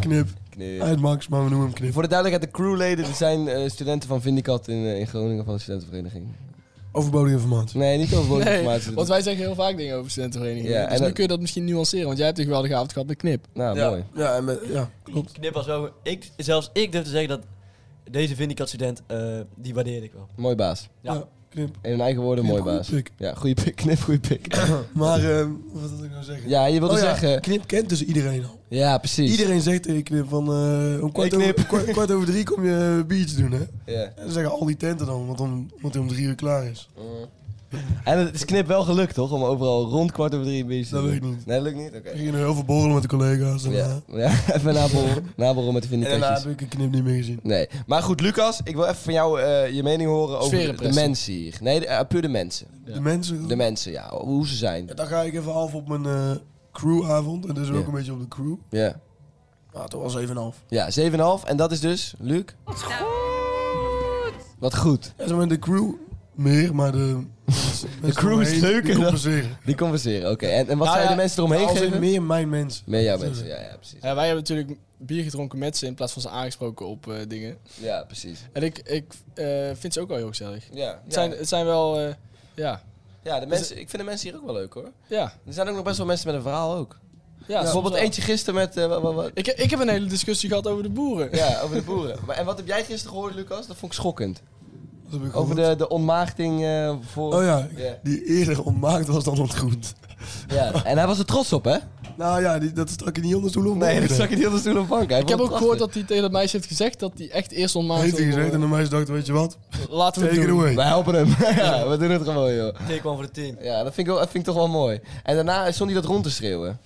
Speaker 3: knip.
Speaker 2: Knip.
Speaker 3: Uit Max, maar we noemen hem knip.
Speaker 2: Voor de duidelijkheid, de crewleden dat zijn eh, studenten van Vindicat in, eh, in Groningen van de studentenvereniging.
Speaker 3: Overbodige informatie.
Speaker 2: Nee, niet over
Speaker 4: Nee,
Speaker 2: woninginformatie.
Speaker 4: want wij zeggen heel vaak dingen over studentenverenigingen.
Speaker 2: Ja,
Speaker 4: dus
Speaker 2: en
Speaker 4: nu
Speaker 2: dat-
Speaker 4: kun je dat misschien nuanceren, want jij hebt een geweldige avond gehad met Knip.
Speaker 2: Nou,
Speaker 3: ja.
Speaker 2: mooi.
Speaker 3: Ja, en met, ja, klopt.
Speaker 1: Knip was wel... Ik, zelfs ik durf te zeggen dat deze Vindicat-student, eh, die waardeerde ik wel.
Speaker 2: Mooi baas.
Speaker 1: Ja.
Speaker 3: Ja, knip.
Speaker 2: In hun eigen woorden,
Speaker 3: Knip,
Speaker 2: mooi
Speaker 3: goeie
Speaker 2: baas.
Speaker 3: pik.
Speaker 2: Ja, goede pik. Knip, goede pik.
Speaker 3: Maar, ehm, wat wil ik nou zeggen?
Speaker 2: Ja, je wilde
Speaker 3: Oh ja,
Speaker 2: zeggen...
Speaker 3: Knip kent dus iedereen al.
Speaker 2: Ja, precies.
Speaker 3: Iedereen zegt tegen Knip van... eh, om kwart,
Speaker 2: Hey, Knip.
Speaker 3: Over, kwart, kwart over drie kom je eh, biertje doen, hè?
Speaker 2: Ja.
Speaker 3: En dan zeggen al die tenten dan, want om, omdat hij om drie uur klaar is.
Speaker 2: En het is knip wel gelukt, toch? Om overal rond kwart over drie biertjes te
Speaker 3: Dat
Speaker 2: doen.
Speaker 3: weet ik niet.
Speaker 2: Nee, dat lukt niet? Oké.
Speaker 3: Ik ging heel veel borrelen met de collega's. En,
Speaker 2: Ja. ja, even naborrelen. Naborrelen met de
Speaker 3: en daarna heb
Speaker 2: vindicaties.
Speaker 3: ik een knip niet meer gezien.
Speaker 2: Nee. Maar goed, Lucas, ik wil even van jou eh, je mening horen over de
Speaker 4: Sfeerimpressie.
Speaker 2: mensen hier. Nee, de- eh, puur de mensen.
Speaker 3: De mensen...
Speaker 2: De mensen, ja. Hoe ze zijn.
Speaker 3: Ja, dan ga ik even half op mijn eh, crewavond. En dus
Speaker 2: Ja.
Speaker 3: ook een beetje op de crew.
Speaker 2: Ja.
Speaker 3: Nou, toen was 7,5.
Speaker 2: Ja, 7,5. En dat is dus, Luc? Wat goed. Wat goed.
Speaker 3: Ja, zeg maar, de crew meer, maar de... De
Speaker 2: crew is leuker
Speaker 3: Die
Speaker 2: dan-
Speaker 3: compenseren.
Speaker 2: Die compenseren, oké. En, en
Speaker 4: Nou
Speaker 2: wat zou je
Speaker 4: ja,
Speaker 2: de mensen eromheen
Speaker 3: Als in
Speaker 2: geven? Meer,
Speaker 3: meer mijn mensen.
Speaker 2: jouw mensen, ja, ja, precies.
Speaker 4: Ja, wij hebben natuurlijk bier gedronken met ze in plaats van ze aangesproken op eh, dingen.
Speaker 2: Ja, precies.
Speaker 4: En ik, ik eh, vind ze ook wel heel gezellig. Het,
Speaker 2: Ja, ja.
Speaker 4: zijn, het zijn wel, eh, ja.
Speaker 2: ja de mensen, ik vind de mensen hier ook wel leuk, hoor.
Speaker 4: Ja,
Speaker 2: Er zijn ook nog best wel mensen met een verhaal ook.
Speaker 4: ja,
Speaker 2: Bijvoorbeeld
Speaker 4: soms wel.
Speaker 2: eentje gisteren met... eh, wa- wa- wa-
Speaker 4: Ik, ik heb een hele discussie gehad over de boeren.
Speaker 2: ja, over de boeren. Maar, en wat heb jij gisteren gehoord, Lucas? Dat vond ik schokkend.
Speaker 3: Dat heb ik
Speaker 2: Over
Speaker 3: gehoord.
Speaker 2: de, de ontmaagding eh, voor...
Speaker 3: Oh ja,
Speaker 2: Ja.
Speaker 3: die eerder ontmaakt was dan ontgroend.
Speaker 2: Ja, En hij was er trots op, hè?
Speaker 3: Nou ja, die, dat stak je niet onder stoel om.
Speaker 2: Nee, dat zag ik niet heel de stoel op bank. Hij
Speaker 4: Ik
Speaker 2: vond
Speaker 4: heb
Speaker 2: het
Speaker 4: ook gehoord
Speaker 2: prachtig.
Speaker 4: dat hij tegen dat meisje heeft gezegd dat hij echt eerst onmaakt
Speaker 3: Heeft hij gezegd
Speaker 4: eh,
Speaker 3: en de meisje dacht, weet je wat?
Speaker 4: Laten we het
Speaker 3: Take it
Speaker 4: doen.
Speaker 3: away.
Speaker 2: Wij helpen hem. ja, we doen het gewoon, joh.
Speaker 1: Take one voor de team.
Speaker 2: Ja, dat vind, ik wel, dat vind ik toch wel mooi. En daarna stond hij dat rond te schreeuwen.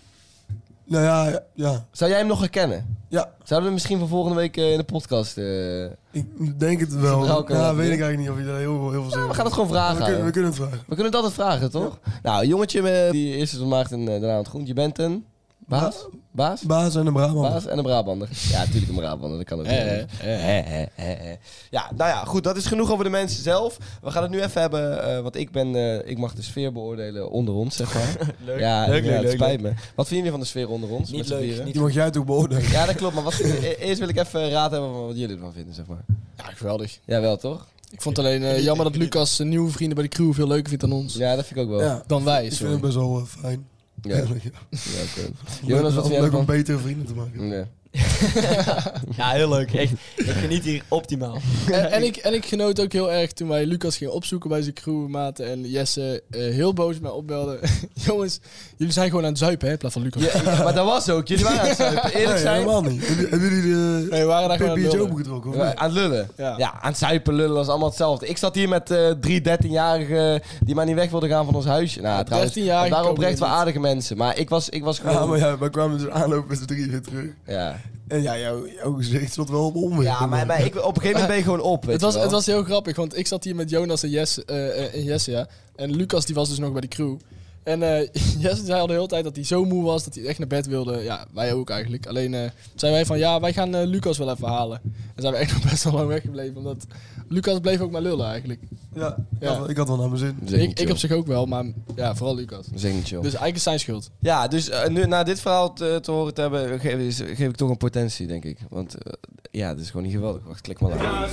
Speaker 3: Nou ja, ja, ja.
Speaker 2: Zou jij hem nog herkennen?
Speaker 3: ja
Speaker 2: Zouden we hem misschien van volgende week eh, in de podcast... eh,
Speaker 3: ik denk het wel.
Speaker 2: Is het er ook
Speaker 3: Ja,
Speaker 2: wel,
Speaker 3: weet ik
Speaker 2: ja?
Speaker 3: eigenlijk niet of je daar heel, veel- heel veel zin
Speaker 2: nou, we
Speaker 3: in
Speaker 2: gaan het
Speaker 3: hebt.
Speaker 2: gewoon vragen.
Speaker 3: we, kunnen,
Speaker 2: aan hem.
Speaker 3: we kunnen het vragen.
Speaker 2: We kunnen het altijd vragen, toch? Nou, jongetje eh, die eerst is ontmaagd en eh, daarna ontgroend. Je bent een... Baas? Baas?
Speaker 3: Baas en de Brabant.
Speaker 2: Baas en een Brabander. Ja, natuurlijk een Brabander, dat kan ook.
Speaker 4: Eh, eh,
Speaker 2: Eh, eh, eh, eh. Ja, nou ja, goed, dat is genoeg over de mensen zelf. We gaan het nu even hebben, eh, want ik ben, eh, ik mag de sfeer beoordelen onder ons, zeg maar.
Speaker 1: Leuk.
Speaker 2: ja,
Speaker 1: leuk,
Speaker 2: ja,
Speaker 1: leuk,
Speaker 2: het
Speaker 1: leuk,
Speaker 2: spijt me. Wat vinden jullie van de sfeer onder ons?
Speaker 1: Niet
Speaker 2: met z'n
Speaker 1: leuk,
Speaker 2: vieren?
Speaker 1: niet-
Speaker 3: Die mag jij toch beoordelen.
Speaker 2: Ja, dat klopt, maar wat, e- eerst wil ik even raad hebben van wat jullie ervan vinden, zeg maar.
Speaker 4: Ja, geweldig.
Speaker 2: Ja, wel toch?
Speaker 4: Ik vond het alleen eh, jammer dat Lucas zijn nieuwe vrienden bij de crew veel leuker vindt dan ons.
Speaker 2: Ja, dat vind ik ook wel. Ja,
Speaker 3: Ja,
Speaker 4: Dan wij,
Speaker 3: ik vind het
Speaker 4: sorry.
Speaker 3: best wel eh, fijn.
Speaker 2: ja,
Speaker 3: Leuk-
Speaker 2: oké. Jonas, wat vind jij
Speaker 3: Leuk om
Speaker 2: ervan?
Speaker 3: betere vrienden te maken.
Speaker 2: Ja.
Speaker 1: Ja, heel leuk. Echt. Ik geniet hier optimaal.
Speaker 4: En, en ik, en ik genoot ook heel erg toen wij Lucas gingen opzoeken bij zijn crewmaten en Jesse eh, heel boos mij opbelde. Jongens, jullie zijn gewoon aan het zuipen hè, in plaats van Lucas.
Speaker 2: Ja, ja, maar dat was ook, jullie waren aan het zuipen. Eerlijk
Speaker 3: Nee,
Speaker 2: zijn,
Speaker 3: helemaal niet. Hebben hebben jullie eh, de
Speaker 4: Nee, we waren daar gewoon aan het
Speaker 3: pipbiertje
Speaker 4: lullen.
Speaker 3: opengetrokken? of
Speaker 2: Ja,
Speaker 3: niet?
Speaker 2: aan het lullen. Ja.
Speaker 4: Ja.
Speaker 2: aan het zuipen, lullen, dat is allemaal hetzelfde. Ik zat hier met eh, drie 13-jarigen die maar niet weg wilden gaan van ons huisje. Nou, trouwens,
Speaker 4: 13-jarigen
Speaker 2: dat waren
Speaker 4: komen
Speaker 2: oprecht
Speaker 4: hier
Speaker 2: wel
Speaker 4: niet.
Speaker 2: aardige mensen. Maar ik was, ik was
Speaker 3: Ja,
Speaker 2: gewoon...
Speaker 3: maar ja, wij kwamen dus aanlopen met z'n drieën weer terug.
Speaker 2: Ja, ja.
Speaker 3: En ja, jouw, jouw gezicht stond wel op onweer.
Speaker 2: maar, maar ik, op een gegeven moment ben je gewoon op, weet
Speaker 4: Het was,
Speaker 2: je wel.
Speaker 4: het was heel grappig, want ik zat hier met Jonas en Jesse, eh, eh, en Jesse ja. En Lucas die was dus nog bij de crew. En eh, Jesse zei al de hele tijd dat hij zo moe was dat hij echt naar bed wilde. Ja, wij ook eigenlijk. Alleen eh, zijn wij van ja, wij gaan eh, Lucas wel even halen. En zijn we echt nog best wel lang weggebleven, omdat Lucas bleef ook maar lullen eigenlijk.
Speaker 3: Ja,
Speaker 4: Ja.
Speaker 3: ik had- Ik had wel naar mijn zin.
Speaker 2: Dat is echt niet
Speaker 4: Ik, ik op
Speaker 2: chill.
Speaker 4: zich ook wel, maar ja, vooral Lucas.
Speaker 2: Dat is echt niet chill.
Speaker 4: Dus eigenlijk is zijn schuld.
Speaker 2: Ja, dus eh, nu, na dit verhaal te, te horen te hebben, geef, is- geef ik toch een potentie, denk ik. Want eh, ja, dit is gewoon niet geweldig. Wacht, klik maar aan.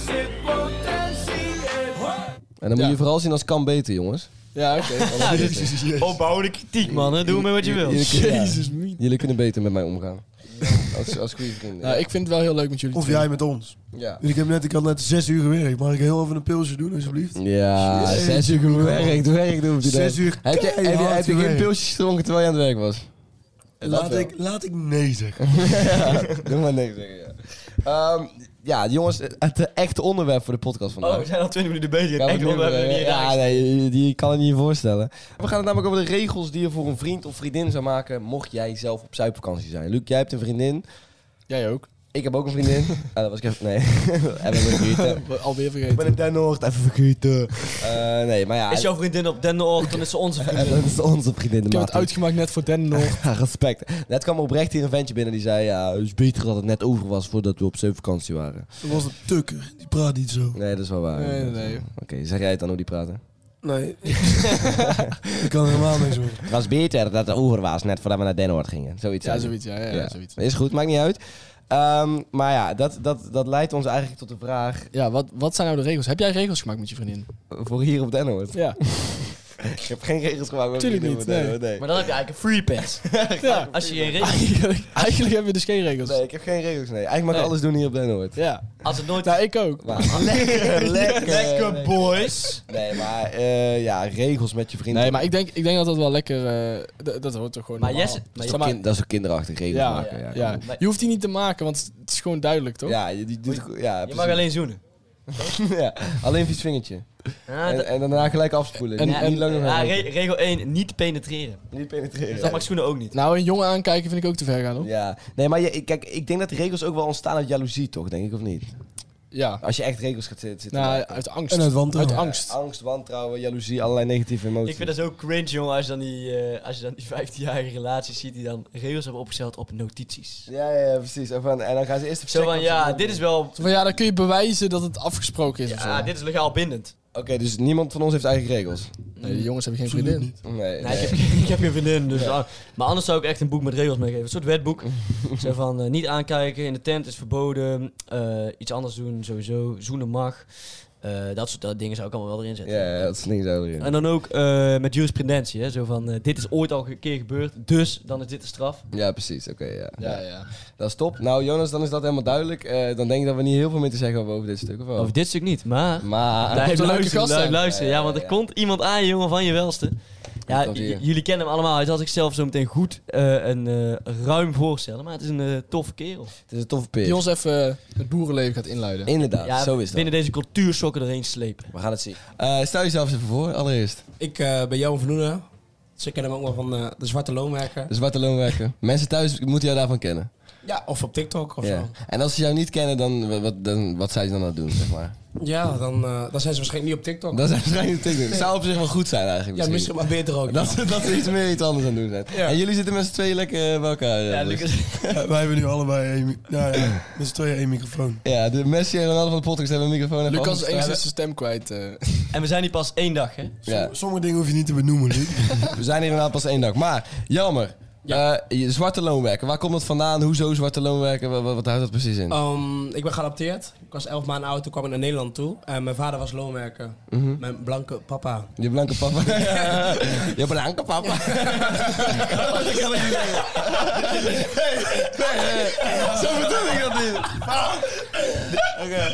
Speaker 2: En dan moet
Speaker 4: Ja.
Speaker 2: je vooral zien als kan beter, jongens.
Speaker 4: Ja, oké.
Speaker 1: Ja, dit is opbouwende kritiek, man. hè. Doe mee wat je wil.
Speaker 2: Jullie kunnen- ja,
Speaker 4: Jezus, mien.
Speaker 2: jullie kunnen beter met mij omgaan. Als, als goede vrienden.
Speaker 4: Nou, ik vind het wel heel leuk met jullie.
Speaker 3: Of
Speaker 4: twee.
Speaker 3: jij met ons.
Speaker 2: Ja.
Speaker 3: Dus ik, heb net, ik had net zes uur gewerkt. Mag ik heel even een pilsje doen, alsjeblieft?
Speaker 2: Ja,
Speaker 3: Jezus.
Speaker 2: zes uur gewerkt, werk doen op die
Speaker 3: Zes
Speaker 2: dag.
Speaker 3: uur
Speaker 2: Heb je, heb je, heb je
Speaker 3: keihard
Speaker 2: geen
Speaker 3: gewerkt.
Speaker 2: pilsjes gedronken terwijl je aan het werk was?
Speaker 3: Laat ik, laat ik nee zeggen.
Speaker 2: Doe maar niks zeggen, ja. Ehm, ja, jongens, het eh, echte onderwerp voor de podcast vandaag.
Speaker 1: Oh, we zijn al 20 minuten bezig.
Speaker 2: Gaan we
Speaker 1: Echt,
Speaker 2: het
Speaker 1: we
Speaker 2: niet
Speaker 1: hebben
Speaker 2: meer,
Speaker 1: het niet
Speaker 2: eh, ja,
Speaker 1: geraakt.
Speaker 2: nee, die kan het niet voorstellen. We gaan het namelijk over de regels die je voor een vriend of vriendin zou maken... mocht jij zelf op zuipvakantie zijn. Luc, jij hebt een vriendin.
Speaker 4: Jij ook.
Speaker 2: Ik heb ook een vriendin. ah, dat was ik even... Nee, even vergeten.
Speaker 4: Alweer
Speaker 2: Ik ben
Speaker 4: vergeten.
Speaker 2: in Den Noord, even vergeten. Eh, nee, maar ja...
Speaker 1: Is jouw vriendin op Den Noord, dan is ze onze
Speaker 2: en
Speaker 1: vriendin.
Speaker 2: dat is onze vriendin.
Speaker 4: Ik heb het
Speaker 2: Maarten.
Speaker 4: uitgemaakt net voor Den Noord.
Speaker 2: Ja, respect. Net kwam er oprecht hier een ventje binnen die zei... Ja, het is beter dat het net over was voordat we op zeevakantie waren.
Speaker 3: Dat was een tukker. Die praat niet zo.
Speaker 2: Nee, dat is wel waar.
Speaker 4: Nee, nee, nee.
Speaker 2: Oké, zeg jij het dan hoe die praten?
Speaker 3: Nee. ik kan helemaal niks horen.
Speaker 2: Het was beter dat het over was net voordat we naar Den Noord gingen. Zoiets.
Speaker 4: Ja,
Speaker 2: zei hij.
Speaker 4: zoiets. Ja, ja, ja, zoiets.
Speaker 2: Is goed, maakt niet uit. Ehm, maar ja, dat, dat, dat leidt ons eigenlijk tot de vraag...
Speaker 4: Ja, wat, wat zijn nou de regels? Heb jij regels gemaakt met je vriendin?
Speaker 2: Voor hier op Den Noord.
Speaker 4: Ja.
Speaker 2: Ik heb geen regels gemaakt. met
Speaker 4: Tuurlijk
Speaker 2: vrienden
Speaker 4: niet,
Speaker 2: op Den
Speaker 4: nee.
Speaker 2: Noord, nee.
Speaker 1: Maar dan heb je eigenlijk een free pass.
Speaker 4: ja.
Speaker 1: Als je geen regels...
Speaker 4: Eigenlijk, eigenlijk hebben we dus geen regels.
Speaker 2: Nee, ik heb geen regels, nee. Eigenlijk mag ik
Speaker 4: Nee.
Speaker 2: alles doen hier op Den Noord.
Speaker 4: Ja.
Speaker 1: Als het nooit...
Speaker 4: Nou, ik ook.
Speaker 2: Maar- lekker, lekker.
Speaker 1: Lekker boys.
Speaker 2: Nee, maar eh, ja, regels met je vrienden.
Speaker 4: Nee, maar ik denk, ik denk dat dat wel lekker... eh, dat- dat hoort toch gewoon
Speaker 1: Maar
Speaker 4: normaal.
Speaker 1: Jesse- maar
Speaker 4: Zeg
Speaker 2: Dat is ook kind- dat is ook kinderachtig, regels
Speaker 4: ja,
Speaker 2: maken. Ja,
Speaker 4: ja. Je hoeft die niet te maken, want het is gewoon duidelijk, toch?
Speaker 2: Ja, je, die doet, ja
Speaker 1: Je
Speaker 2: precies.
Speaker 1: mag alleen zoenen.
Speaker 2: ja, alleen vies vingertje.
Speaker 1: Ja,
Speaker 2: En,
Speaker 1: dat-
Speaker 2: en daarna gelijk afspoelen.
Speaker 4: En-
Speaker 2: niet,
Speaker 4: en-
Speaker 2: niet langer
Speaker 1: ja, eh,
Speaker 2: houden.
Speaker 1: re- regel 1, niet penetreren.
Speaker 2: Niet penetreren.
Speaker 1: Dat mag schoenen ook niet.
Speaker 4: Nou, een jongen aankijken vind ik ook te ver gaan, hoor. Ja.
Speaker 2: Ja, nee, maar je, kijk, ik denk dat die regels ook wel ontstaan uit jaloezie, toch? Denk ik, of niet? Als je echt regels gaat zitten. zitten
Speaker 4: Nou,
Speaker 2: maken.
Speaker 4: uit angst.
Speaker 3: En uit wantrouwen.
Speaker 4: angst.
Speaker 2: Angst, wantrouwen, jaloezie, allerlei negatieve emoties.
Speaker 1: Ik vind dat zo cringe, jongen, als je dan die, eh, als je dan die 15-jarige relaties ziet die dan regels hebben opgesteld op notities.
Speaker 2: Ja, ja, ja, precies. En, van- en dan gaan ze eerst even
Speaker 1: Zo
Speaker 2: checken
Speaker 1: van,
Speaker 2: of ze-
Speaker 1: ja, dit is wel...
Speaker 4: Van, ja, dan kun je bewijzen dat het afgesproken is of zo.
Speaker 1: Ja, dit is legaal bindend.
Speaker 2: Oké, dus niemand van ons heeft eigen regels.
Speaker 4: Nee, de jongens hebben geen
Speaker 3: Absoluut
Speaker 4: vriendin.
Speaker 3: niet.
Speaker 2: Nee,
Speaker 1: Nee,
Speaker 2: nee.
Speaker 1: ik, heb, ik heb geen vriendin, dus... ah. Maar anders zou ik echt een boek met regels meegeven. Een soort wetboek. zo van, eh, niet aankijken, in de tent is verboden. eh, iets anders doen, sowieso. Zoenen mag. Eh, dat soort eh, dingen zou ik allemaal wel erin zetten.
Speaker 2: Ja, ja, dat is niks over in.
Speaker 1: En dan ook eh, met jurisprudentie, hè? zo van, eh, dit is ooit al een keer gebeurd, dus dan is dit de straf.
Speaker 2: Ja, precies. Oké, ja.
Speaker 4: Ja, ja.
Speaker 2: Dat is top. Nou, Jonas, dan is dat helemaal duidelijk. Eh, dan denk ik dat we niet heel veel meer te zeggen hebben over dit stuk, of wel?
Speaker 1: Over dit stuk niet, maar...
Speaker 2: Maar...
Speaker 1: Blijf
Speaker 4: een leuke
Speaker 1: luisteren,
Speaker 4: gast
Speaker 1: blijf
Speaker 4: aan.
Speaker 1: luisteren. Ja, want er
Speaker 2: ja, ja.
Speaker 1: komt iemand aan, jongen, van je welste. Ja,
Speaker 2: komt
Speaker 1: j-
Speaker 2: hier.
Speaker 1: jullie kennen hem allemaal. Hij zal zichzelf zo meteen goed eh, en eh, ruim voorstellen. Maar het is een eh, toffe kerel.
Speaker 2: Het is een toffe
Speaker 4: Die
Speaker 2: peer.
Speaker 4: ons even eh, het boerenleven gaat inluiden.
Speaker 2: Inderdaad,
Speaker 1: ja,
Speaker 2: zo is dat.
Speaker 1: Binnen deze cultuursokken erheen slepen.
Speaker 2: We gaan het zien. Eh, stel jezelf eens even voor, allereerst.
Speaker 5: Ik eh, ben Johan van Noenen. Ze kennen me ook wel van eh, de Zwarte Loonwerker.
Speaker 2: De zwarte loonwerker. Mensen thuis moeten jou daarvan kennen.
Speaker 5: Ja, of op TikTok of
Speaker 2: Ja.
Speaker 5: zo.
Speaker 2: En als ze jou niet kennen, dan wa- wat, dan, wat zou je dan aan het doen, zeg maar?
Speaker 5: Ja, dan, eh, dan zijn ze waarschijnlijk niet op TikTok.
Speaker 2: Dat is waarschijnlijk een TikTok. zou op zich wel goed zijn eigenlijk.
Speaker 5: ja, misschien maar beter ook.
Speaker 2: Dat, ze- dat ze iets meer iets anders aan het doen zijn.
Speaker 5: Ja.
Speaker 2: En jullie zitten met z'n tweeën lekker eh, bij elkaar. Ja,
Speaker 3: Ja, wij hebben nu allebei één, mi- nou ja, met z'n tweeën één microfoon.
Speaker 2: ja, de Messi en Ronaldo van de podcast hebben een microfoon. even
Speaker 4: Lucas is
Speaker 2: afgestaan.
Speaker 4: enigszins zijn stem kwijt. eh.
Speaker 1: En we zijn hier pas één dag, hè?
Speaker 2: Ja.
Speaker 3: Sommige dingen hoef je niet te benoemen, Luc.
Speaker 2: We zijn hier inderdaad pas één dag. Maar, jammer. Eh, je- zwarte loonwerker. Waar komt dat vandaan? Hoezo zwarte loonwerker? Wat, wat, wat houdt dat precies in?
Speaker 5: Ehm, ik ben geadopteerd. Ik was 11 maanden oud, toen kwam ik naar Nederland toe. En mijn vader was loonwerker. Mijn blanke papa.
Speaker 2: Je blanke papa. je blanke papa. Zo bedoel ik dat niet.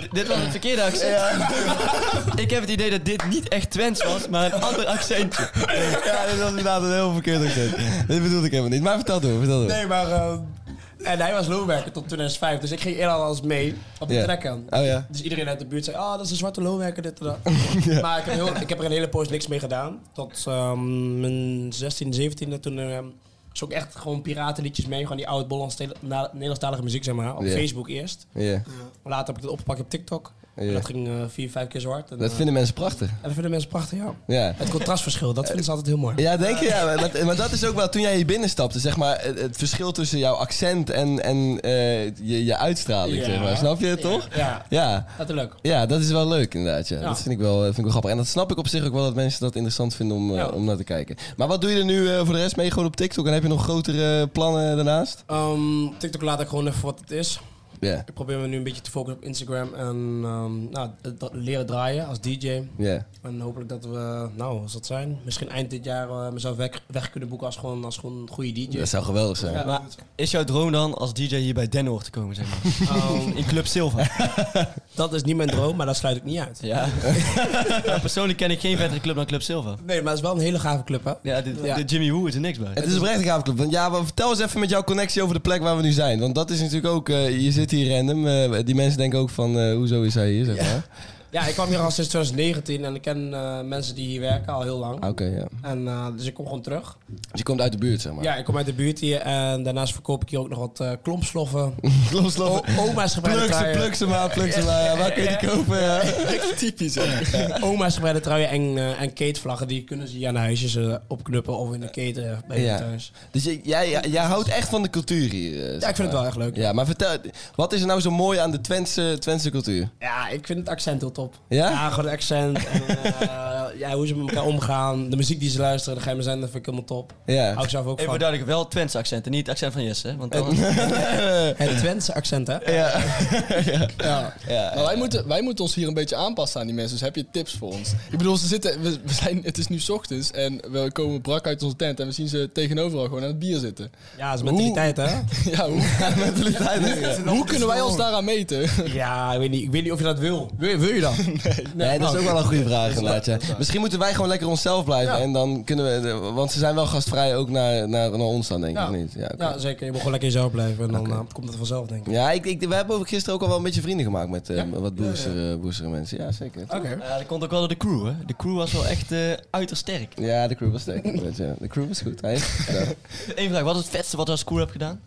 Speaker 1: D- Dit was het verkeerde accent. Ik heb het idee dat dit niet echt Twents was, maar een ander accentje.
Speaker 2: Ja, dit was inderdaad een heel verkeerd accent. Dit bedoelde ik helemaal niet. Maar vertel door, vertel door.
Speaker 5: Nee, maar... ehm, en hij was loonwerker tot 2005. Dus ik ging eerder al eens mee op de
Speaker 2: Ja.
Speaker 5: trekken.
Speaker 2: Oh ja.
Speaker 5: Dus iedereen uit de buurt zei, ah, dat is een zwarte loonwerker, dit en dat. Maar ik heb, heel, ik heb er een hele poos niks mee gedaan. Tot ehm, mijn 16, 17 toen ehm zong ik echt gewoon piratenliedjes mee. Gewoon die oud-Nederlandstalige muziek, zeg maar. Op
Speaker 2: Ja.
Speaker 5: Facebook eerst.
Speaker 2: Ja.
Speaker 5: Later heb ik het opgepakt op TikTok.
Speaker 2: Ja.
Speaker 5: En dat ging eh, vier, vijf keer zo hard. En,
Speaker 2: Dat
Speaker 5: eh,
Speaker 2: vinden mensen prachtig.
Speaker 5: en dat vinden mensen prachtig, ja.
Speaker 2: Ja.
Speaker 5: Het contrastverschil, dat vinden ze altijd heel mooi.
Speaker 2: Ja, denk je? Ja, maar, maar- maar dat is ook wel toen jij hier binnenstapte, zeg maar, het, het verschil tussen jouw accent en, en eh, je, je uitstraling,
Speaker 5: Ja.
Speaker 2: zeg maar. Snap je het toch?
Speaker 5: Ja,
Speaker 2: Ja.
Speaker 5: natuurlijk.
Speaker 2: Ja, dat is wel leuk inderdaad. Ja.
Speaker 5: Ja.
Speaker 2: Dat vind ik, wel, eh, vind ik wel grappig. En dat snap ik op zich ook wel dat mensen dat interessant vinden om, eh,
Speaker 5: Ja.
Speaker 2: om naar te kijken. Maar wat doe je er nu eh, voor de rest mee? Gewoon op TikTok? En heb je nog grotere eh, plannen daarnaast?
Speaker 5: Ehm, TikTok laat ik gewoon even wat het is.
Speaker 2: Ja,
Speaker 5: Ik probeer me nu een beetje te focussen op Instagram en ehm, nou, het dra- leren draaien als DJ.
Speaker 2: ja.
Speaker 5: En hopelijk dat we, nou, als dat zijn, misschien eind dit jaar eh, mezelf weg, weg kunnen boeken als gewoon, als gewoon een goede DJ.
Speaker 2: Dat zou geweldig zijn. Ja.
Speaker 1: Maar is jouw droom dan als DJ hier bij Den Hoort te komen, zeg maar?
Speaker 5: Ehm,
Speaker 1: In Club Silva.
Speaker 5: dat is niet mijn droom, maar dat sluit ik niet uit.
Speaker 1: Ja. Persoonlijk ken ik geen vettere club dan Club Silva.
Speaker 5: Nee, maar het is wel een hele gave club, hè?
Speaker 1: Ja, de,
Speaker 5: Ja.
Speaker 1: de Jimmy Woo is er niks bij.
Speaker 2: Het is een echt gaaf club. Want ja, maar vertel eens even met jouw connectie over de plek waar we nu zijn. Want dat is natuurlijk ook, eh, je zit hier random. eh, die mensen denken ook van, eh, hoezo is hij hier, zeg maar.
Speaker 5: Ja, ik kwam hier al sinds 2019 en ik ken eh, mensen die hier werken al heel lang.
Speaker 2: Ah, Oké, ja.
Speaker 5: En, eh, dus ik kom gewoon terug.
Speaker 2: Dus je komt uit de buurt, zeg maar.
Speaker 5: Ja, ik kom uit de buurt hier en daarnaast verkoop ik hier ook nog wat eh, klompsloffen.
Speaker 2: klopt.
Speaker 5: O- oma's gebreide
Speaker 2: Pluk ze,
Speaker 5: truien.
Speaker 2: pluk ze maar, pluk ze maar. Ja, Waar kun je die kopen? Ja.
Speaker 4: Typisch, hè?
Speaker 5: Oma's gebreide truien en, eh, en keetvlaggen, die kunnen ze hier aan de huisjes eh, opknuppen of in de keten eh, bij
Speaker 2: Ja.
Speaker 5: je thuis.
Speaker 2: Dus jij, jij, jij- jij houdt echt van de cultuur hier. eh, zeg
Speaker 5: Ja, ik vind het
Speaker 2: maar.
Speaker 5: wel echt leuk.
Speaker 2: Ja, maar vertel, wat is er nou zo mooi aan de Twentse, Twentse cultuur?
Speaker 5: Ja, ik vind het accent heel top.
Speaker 2: Ja?
Speaker 5: gewoon het accent. en, eh, ja, hoe ze met elkaar omgaan. De muziek die ze luisteren, de geheime zender, vind ik helemaal top. Hou
Speaker 2: Ja.
Speaker 5: ik zelf ook
Speaker 1: Even voor
Speaker 5: van.
Speaker 1: duidelijk, wel Twents accent en niet het accent van Jesse. hè? Want dan,
Speaker 5: Het Twentse accent, hè?
Speaker 2: Ja. ja.
Speaker 4: Ja.
Speaker 2: Ja.
Speaker 4: Maar wij moeten, wij moeten ons hier een beetje aanpassen aan die mensen. Dus heb je tips voor ons? Ik bedoel, ze zitten, we, we zijn, het is nu 's ochtends en we komen brak uit onze tent en we zien ze tegenover al gewoon aan het bier zitten.
Speaker 5: Ja, dat is mentaliteit, hè?
Speaker 4: Ja, hoe,
Speaker 2: Mentaliteit, hè?
Speaker 4: hoe kunnen wij ons daaraan meten?
Speaker 5: Ja, ik weet niet, ik weet niet of je dat wil. Wil, wil je dat? Nou.
Speaker 2: Nee, dat is ook wel een goede vraag inderdaad. ja. Misschien moeten wij gewoon lekker onszelf blijven.
Speaker 5: Ja.
Speaker 2: En dan kunnen we, de- want ze zijn wel gastvrij ook naar, naar, naar ons dan, denk ik.
Speaker 5: Ja.
Speaker 2: of niet? Ja, oké.
Speaker 5: Ja, zeker. Je moet gewoon lekker jezelf blijven en dan eh, komt het vanzelf, denk ik.
Speaker 2: Ja, ik, ik, we hebben ook gisteren ook al wel een beetje vrienden gemaakt met eh, wat boezeren boezeren mensen. Ja, zeker.
Speaker 5: Oké.
Speaker 1: Ja, dat komt ook wel door de crew, hè? De crew was wel echt eh, uiterst sterk.
Speaker 2: Ja, de crew was sterk. inderdaad, ja. De crew was goed. Hij heeft het gedaan.
Speaker 1: Eén vraag, wat is het vetste wat je als crew hebt gedaan?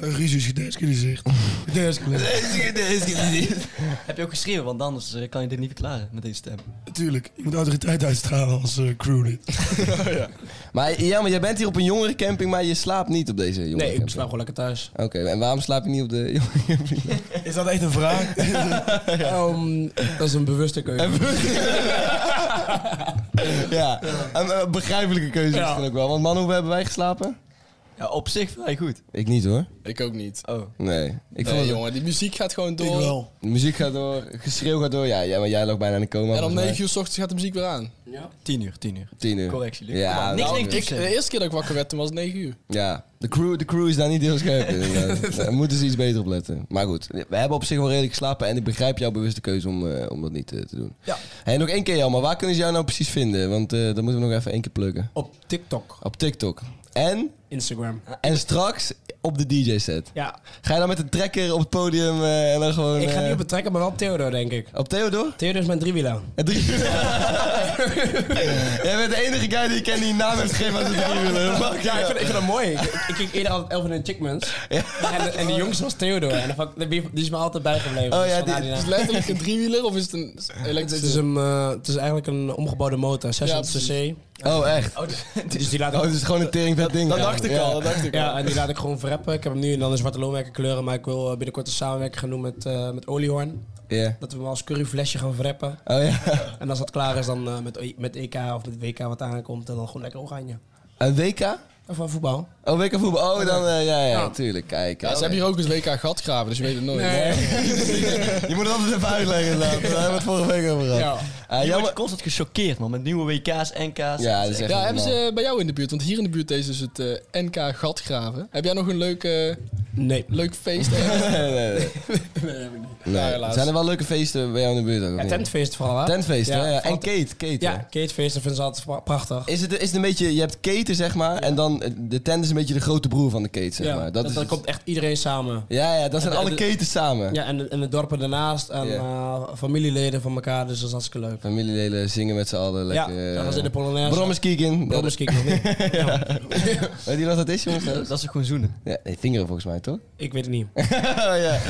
Speaker 3: Eh, Risus gedescaliseerd. Gedescaliseerd.
Speaker 1: Heb je ook geschreven, want anders eh, kan je dit niet verklaren met deze stem.
Speaker 3: Natuurlijk. Je moet autoriteit uitstralen als eh, crewlid.
Speaker 2: Maar, ja, maar jij bent hier op een jongerencamping, maar je slaapt niet op deze
Speaker 5: Nee,
Speaker 2: jongerencamping.
Speaker 5: ik slaap gewoon lekker thuis.
Speaker 2: Oké, en waarom slaap je niet op de jongerencamping?
Speaker 3: Is dat echt een vraag?
Speaker 5: Ehm, dat is een bewuste keuze.
Speaker 2: ja, een eh, begrijpelijke keuze
Speaker 5: Ja.
Speaker 2: is het ook wel. Want man, hoe hebben wij geslapen?
Speaker 1: Ja, op zich vrij goed.
Speaker 2: Ik niet hoor.
Speaker 4: Ik ook niet.
Speaker 1: Oh.
Speaker 2: Nee. Ik
Speaker 4: nee,
Speaker 2: vond het-
Speaker 4: jongen, die muziek gaat gewoon
Speaker 3: Ik
Speaker 4: door.
Speaker 3: wel.
Speaker 2: De muziek gaat door, geschreeuw gaat door. Ja, ja maar jij lag bijna in de coma.
Speaker 4: En om
Speaker 2: volgens mij.
Speaker 4: 9 uur s ochtends gaat de muziek weer aan.
Speaker 1: Tien uur, tien uur.
Speaker 2: Tien uur.
Speaker 1: Correctie, Luc. Kom
Speaker 2: Ja,
Speaker 1: op, niks
Speaker 2: nou,
Speaker 1: negatiefs.
Speaker 4: Ik, de eerste keer dat ik wakker werd, toen was het 9 uur.
Speaker 2: Ja, de crew, de crew is daar niet heel scherp in. inderdaad. Daar moeten ze iets beter op letten. Maar goed, we hebben op zich wel redelijk geslapen. En ik begrijp jouw bewuste keuze om, eh, om dat niet eh, te doen.
Speaker 5: Ja.
Speaker 2: En nog één keer, Jan, maar waar kunnen ze jou nou precies vinden? Want eh dat moeten we nog even één keer plukken.
Speaker 5: Op TikTok,
Speaker 2: Op TikTok. En,
Speaker 5: Instagram.
Speaker 2: en straks op de DJ-set.
Speaker 5: Ja,
Speaker 2: Ga je dan met een trekker op het podium eh, en dan gewoon...
Speaker 5: ik ga
Speaker 2: eh,
Speaker 5: niet op het trekken, maar wel op Theodor, denk ik.
Speaker 2: Op Theodor?
Speaker 5: Theodor is mijn driewieler.
Speaker 2: En drie... Jij bent de enige guy die ik ken die een naam heeft gegeven aan zijn driewieler. Fuck
Speaker 5: Ja, ik
Speaker 2: ja.
Speaker 5: vind, ik vind dat mooi. Ik, ik keek eerder altijd Elvin en Chickmans. En, en de jongste was Theodor. En dan vond ik- die is me altijd bijgebleven.
Speaker 2: Oh
Speaker 5: Dus
Speaker 2: ja,
Speaker 5: vandaar
Speaker 2: die-
Speaker 5: die
Speaker 4: Is
Speaker 5: naam.
Speaker 4: het letterlijk een driewieler of is het een
Speaker 5: Het is,
Speaker 4: elektrische?
Speaker 5: een, eh, het is eigenlijk een omgebouwde motor, 600 cc.
Speaker 2: Oh, echt?
Speaker 5: Dus die laat
Speaker 2: Oh,
Speaker 5: ik,
Speaker 2: het is gewoon een teringvet ding.
Speaker 4: Dat
Speaker 2: Ja.
Speaker 4: dacht ik
Speaker 2: Ja.
Speaker 4: al, dat dacht ik al.
Speaker 5: ja, en die laat ik gewoon verreppen. Ik heb hem nu in dan een zwarte loonwerker kleuren, maar ik wil eh, binnenkort een samenwerking gaan doen met, eh, met Oliehoorn.
Speaker 2: Ja.
Speaker 5: Dat we hem als curryflesje gaan verreppen.
Speaker 2: Oh ja.
Speaker 5: En als dat klaar is, dan eh, met, met EK of met WK wat aankomt, en dan gewoon lekker oranje.
Speaker 2: Een WK?
Speaker 5: Of van voetbal.
Speaker 2: Oh, WK voetbal. Oh, dan... eh, ja, ja, tuurlijk. Kijk. oh,
Speaker 4: Ja, ze hebben hier ook eens WK gat graven, dus je weet het nooit.
Speaker 2: Je moet het altijd even uitleggen. inderdaad. Daar hebben we het vorige week over gehad.
Speaker 5: Ja.
Speaker 2: Eh,
Speaker 1: Je
Speaker 2: jammer...
Speaker 1: wordt constant gechoqueerd, man. Met nieuwe WK's, NK's.
Speaker 2: Ja, dat is echt
Speaker 4: Ja,
Speaker 2: niet
Speaker 4: hebben
Speaker 2: normaal.
Speaker 4: ze bij jou in de buurt? Want hier in de buurt is dus het eh, NK Gatgraven. Heb jij nog een leuk, eh,
Speaker 5: Nee.
Speaker 4: leuk feest?
Speaker 2: Nee, nee, nee.
Speaker 4: Ja,
Speaker 2: Nee.
Speaker 4: helaas.
Speaker 2: Zijn er wel leuke feesten bij jou in de buurt? Ook, of
Speaker 5: Ja,
Speaker 2: niet?
Speaker 5: tentfeest vooral, hè?
Speaker 2: Tentfeesten,
Speaker 5: Ah, Ja,
Speaker 2: hè? ja. En
Speaker 5: altijd-
Speaker 2: Kate. Kate
Speaker 5: Ja,
Speaker 2: hè?
Speaker 5: Katefeesten vinden ze altijd pra- prachtig.
Speaker 2: Is het, is het een beetje, je hebt keten zeg maar, en dan eh, de tent is een beetje de grote broer van de keten zeg
Speaker 5: ja,
Speaker 2: maar. Dat
Speaker 5: dat
Speaker 2: is
Speaker 5: dan
Speaker 2: het.
Speaker 5: komt echt iedereen samen.
Speaker 2: Ja, ja, dat zijn
Speaker 5: En de-
Speaker 2: alle
Speaker 5: de-
Speaker 2: ketens samen.
Speaker 5: Ja, en, de- en de dorpen daarnaast en
Speaker 2: Ja.
Speaker 5: eh, familieleden van elkaar, dus dat is hartstikke leuk.
Speaker 2: Familieleden zingen met z'n allen lekker.
Speaker 5: ja,
Speaker 2: eh,
Speaker 5: dat was in de Polonaise.
Speaker 2: Brommers Kieken.
Speaker 5: Brommers kieken nog niet.
Speaker 2: Weet je wat dat is, jongens?
Speaker 1: Dat is gewoon zoenen.
Speaker 2: Ja, nee, vingeren volgens mij, toch?
Speaker 5: Ik weet het niet.
Speaker 2: ja.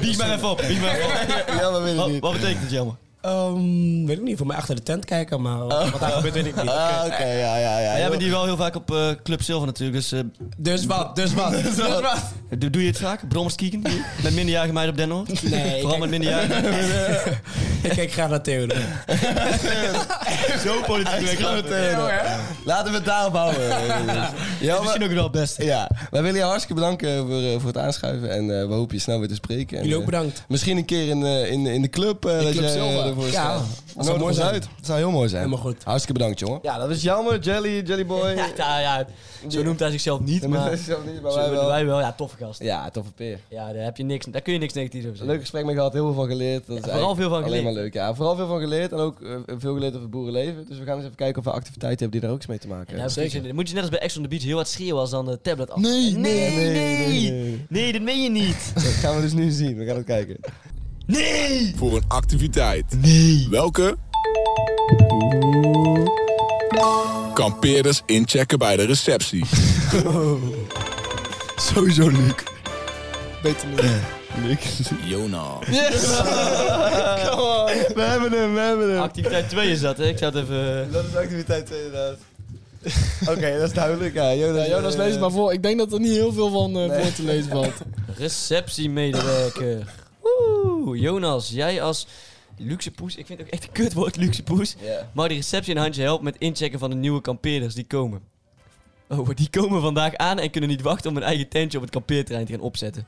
Speaker 1: Bieg maar even op, bieg maar even op.
Speaker 2: ja, maar weet ik
Speaker 1: Wat,
Speaker 2: niet.
Speaker 1: wat betekent het, jammer?
Speaker 5: Ehm, weet ik niet, voor mij achter de tent kijken, maar
Speaker 2: Oh.
Speaker 5: eh, wat daar gebeurt weet ik niet.
Speaker 2: Ah, oké, ja, ja, ja.
Speaker 1: Ja, jij bent hier wel heel vaak op eh, Club Silver natuurlijk, dus eh,
Speaker 5: Dus wat, dus wat, dus wat.
Speaker 1: doe, doe je het vaak? Brommers kieken? Met minderjarige meiden op Den Hoorn?
Speaker 5: Nee,
Speaker 1: Vooral
Speaker 5: kijk-
Speaker 1: met minderjarigen.
Speaker 5: Ik kijk graag naar Theodor.
Speaker 1: Zo politiek werk.
Speaker 2: Laten we het daarop houden. ja,
Speaker 1: Misschien ook wel best.
Speaker 2: ja, wij willen jou hartstikke bedanken voor, eh, voor het aanschuiven. En eh, we hopen je snel weer te spreken. En,
Speaker 5: Jullie ook
Speaker 2: eh,
Speaker 5: bedankt.
Speaker 2: misschien een keer in, eh, in, in de club. eh dat
Speaker 4: Club
Speaker 2: jij, eh,
Speaker 4: Silva.
Speaker 2: ervoor
Speaker 5: Ja,
Speaker 2: staat.
Speaker 5: dat zou
Speaker 2: Nodig
Speaker 5: mooi
Speaker 2: ons
Speaker 5: zijn.
Speaker 2: uit. Dat zou heel mooi zijn.
Speaker 5: Helemaal goed.
Speaker 2: Hartstikke bedankt, jongen.
Speaker 5: Ja, dat is
Speaker 2: jammer, Jelly, Jellyboy.
Speaker 1: Ja, ja, ja, zo noemt hij zichzelf niet, maar zo doen wij wel. Ja, toffe gast.
Speaker 2: Ja, toffe peer.
Speaker 1: Ja, daar, heb je niks, daar kun je niks negatiefs over zeggen.
Speaker 2: Leuk gesprek mee gehad, heel veel van geleerd. Dat is
Speaker 1: vooral
Speaker 2: eigenlijk
Speaker 1: veel van
Speaker 2: Alleen maar
Speaker 1: geleerd.
Speaker 2: leuk, ja. Vooral veel van geleerd en ook eh, veel geleerd over boerenleven. Dus we gaan eens even kijken of we activiteiten hebben die daar ook iets mee te maken
Speaker 1: Ja,
Speaker 2: hebben.
Speaker 1: precies. Dan moet je net als bij Ex on the Beach heel hard schreeuwen als dan de tablet af.
Speaker 2: Nee,
Speaker 1: nee,
Speaker 2: nee,
Speaker 1: nee,
Speaker 2: nee,
Speaker 1: nee,
Speaker 2: nee.
Speaker 1: dat meen je niet.
Speaker 2: Dat gaan we dus nu zien, we gaan het kijken.
Speaker 1: Nee!
Speaker 6: voor een activiteit. Nee. Welke? Kampeerders inchecken bij de receptie.
Speaker 3: Sowieso Luc.
Speaker 4: Beter niet.
Speaker 6: Jona.
Speaker 2: We hebben hem, we hebben hem.
Speaker 1: Activiteit 2 is dat, hè? Ik zou het even... eh,
Speaker 2: Dat is activiteit 2 inderdaad. Oké, dat is duidelijk. Ja, Jonas, eh,
Speaker 4: Ja, Jonas, lees het maar voor. Ik denk dat er niet heel veel van eh, voor te lezen valt.
Speaker 1: Receptiemedewerker. Oeh, Jonas, jij als luxe poes... Ik vind het ook echt een kutwoord, luxe poes.
Speaker 2: Ja.
Speaker 1: Maar de receptie een handje helpt met inchecken van de nieuwe kampeerders die komen. Oh, die komen vandaag aan en kunnen niet wachten om hun eigen tentje op het kampeerterrein te gaan opzetten.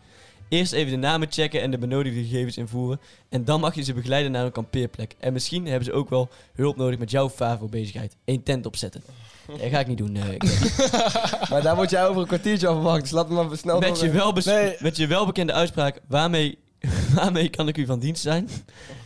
Speaker 1: Eerst even de namen checken en de benodigde gegevens invoeren. En dan mag je ze begeleiden naar een kampeerplek. En misschien hebben ze ook wel hulp nodig met jouw favo-bezigheid. Eén tent opzetten. Dat ga ik niet doen. eh, ik-
Speaker 2: Maar daar word jij over een kwartiertje af verwacht, dus laat me maar snel
Speaker 1: met, je
Speaker 2: door-
Speaker 1: wel bes-
Speaker 2: Nee.
Speaker 1: met je welbekende uitspraak, waarmee, waarmee kan ik u van dienst zijn?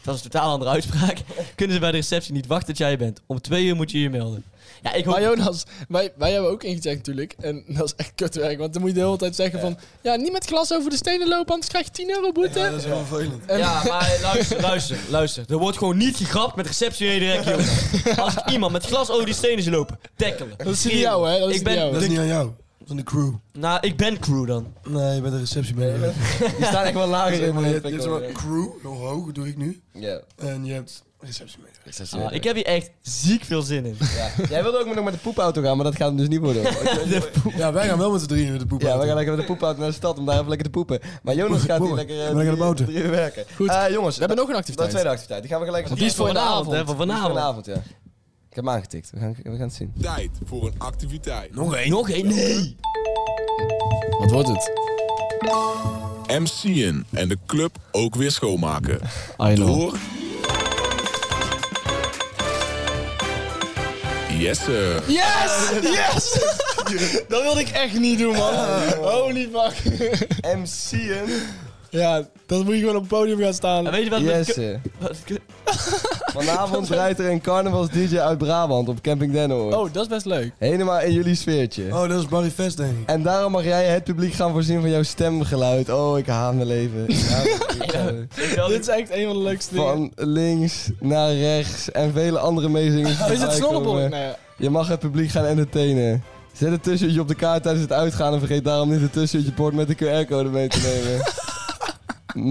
Speaker 1: Dat is een totaal andere uitspraak. Kunnen ze bij de receptie niet wachten dat jij er bent. Om twee uur moet je je melden. Ja, ik hoop...
Speaker 4: Maar Jonas, wij, wij hebben ook ingecheckt natuurlijk. En dat is echt kutwerk. Want dan moet je de hele tijd zeggen van... Ja, niet met glas over de stenen lopen, anders krijg je 10 euro boete.
Speaker 3: Ja, dat is wel vervelend.
Speaker 1: Ja, maar luister, luister, luister. Er wordt gewoon niet gegrapt met receptie in direct, jongen. Als ik iemand met glas over die stenen zie lopen, tackelen.
Speaker 4: Dat is niet jou, hè? Dat is
Speaker 1: Ik ben-
Speaker 4: niet jou.
Speaker 3: Dat is niet aan jou. Dat is aan de crew.
Speaker 1: Nou, ik ben crew dan.
Speaker 3: Nee, je bent een receptie mee.
Speaker 2: Die staan echt wel lager in
Speaker 3: Je
Speaker 2: mijn
Speaker 3: hebt zo'n crew, heel hoog, dat doe ik nu.
Speaker 2: Ja.
Speaker 3: En je hebt receptie mee.
Speaker 1: Ah, ik heb hier echt ziek veel zin in.
Speaker 2: Ja. Jij wilde ook nog met de poepauto gaan, maar dat gaat hem dus niet worden.
Speaker 3: Ja, wij gaan wel met z'n drieën met de poep
Speaker 2: Ja,
Speaker 3: uit.
Speaker 2: we gaan lekker met de poepauto naar de stad om daar even lekker te poepen. Maar Jonas gaat hier
Speaker 3: Poepen.
Speaker 2: lekker eh,
Speaker 3: We gaan naar de
Speaker 2: drie-
Speaker 3: motor.
Speaker 2: drie uur werken.
Speaker 4: Goed.
Speaker 2: Eh, jongens,
Speaker 4: We hebben nog een
Speaker 2: dat is
Speaker 4: activiteit.
Speaker 2: tweede activiteit. Die gaan we gelijk...
Speaker 4: die is voor vanavond,
Speaker 1: hè? Voor
Speaker 2: Die is
Speaker 1: vanavond.
Speaker 2: vanavond, ja. Ik heb hem aangetikt. We gaan, we gaan het zien.
Speaker 6: Tijd voor een activiteit.
Speaker 3: Nog één.
Speaker 1: Nog één? Nee!
Speaker 4: Wat wordt het?
Speaker 6: MC'en en de club ook weer schoonmaken.
Speaker 4: I
Speaker 6: Door... Jesse.
Speaker 4: Yes! Yes! dat wilde ik echt niet doen, man. Holy fuck.
Speaker 2: MC'en.
Speaker 4: ja, dat moet je gewoon op het podium gaan staan.
Speaker 1: En Nou, weet je wat? met-
Speaker 2: Yes. eh.
Speaker 1: wat-
Speaker 2: Vanavond draait er een carnavals DJ uit Brabant op Camping Dennenoord.
Speaker 4: Oh, dat is best leuk.
Speaker 2: Helemaal in jullie sfeertje.
Speaker 3: Oh, dat is Barry Vest, denk ik.
Speaker 2: En daarom mag jij het publiek gaan voorzien van jouw stemgeluid. Oh, ik haat mijn leven. Ik haat mijn leven.
Speaker 4: Dit is echt een van de leukste dingen.
Speaker 2: Van links naar rechts en vele andere meezingers. die
Speaker 4: Is het
Speaker 2: voorbij
Speaker 4: snollebol?
Speaker 2: komen.
Speaker 4: Nee, ja.
Speaker 2: Je mag het publiek gaan entertainen. Zet het tussenuurtje op de kaart tijdens het uitgaan en vergeet daarom niet het tussenuurtje bord met de QR-code mee te nemen.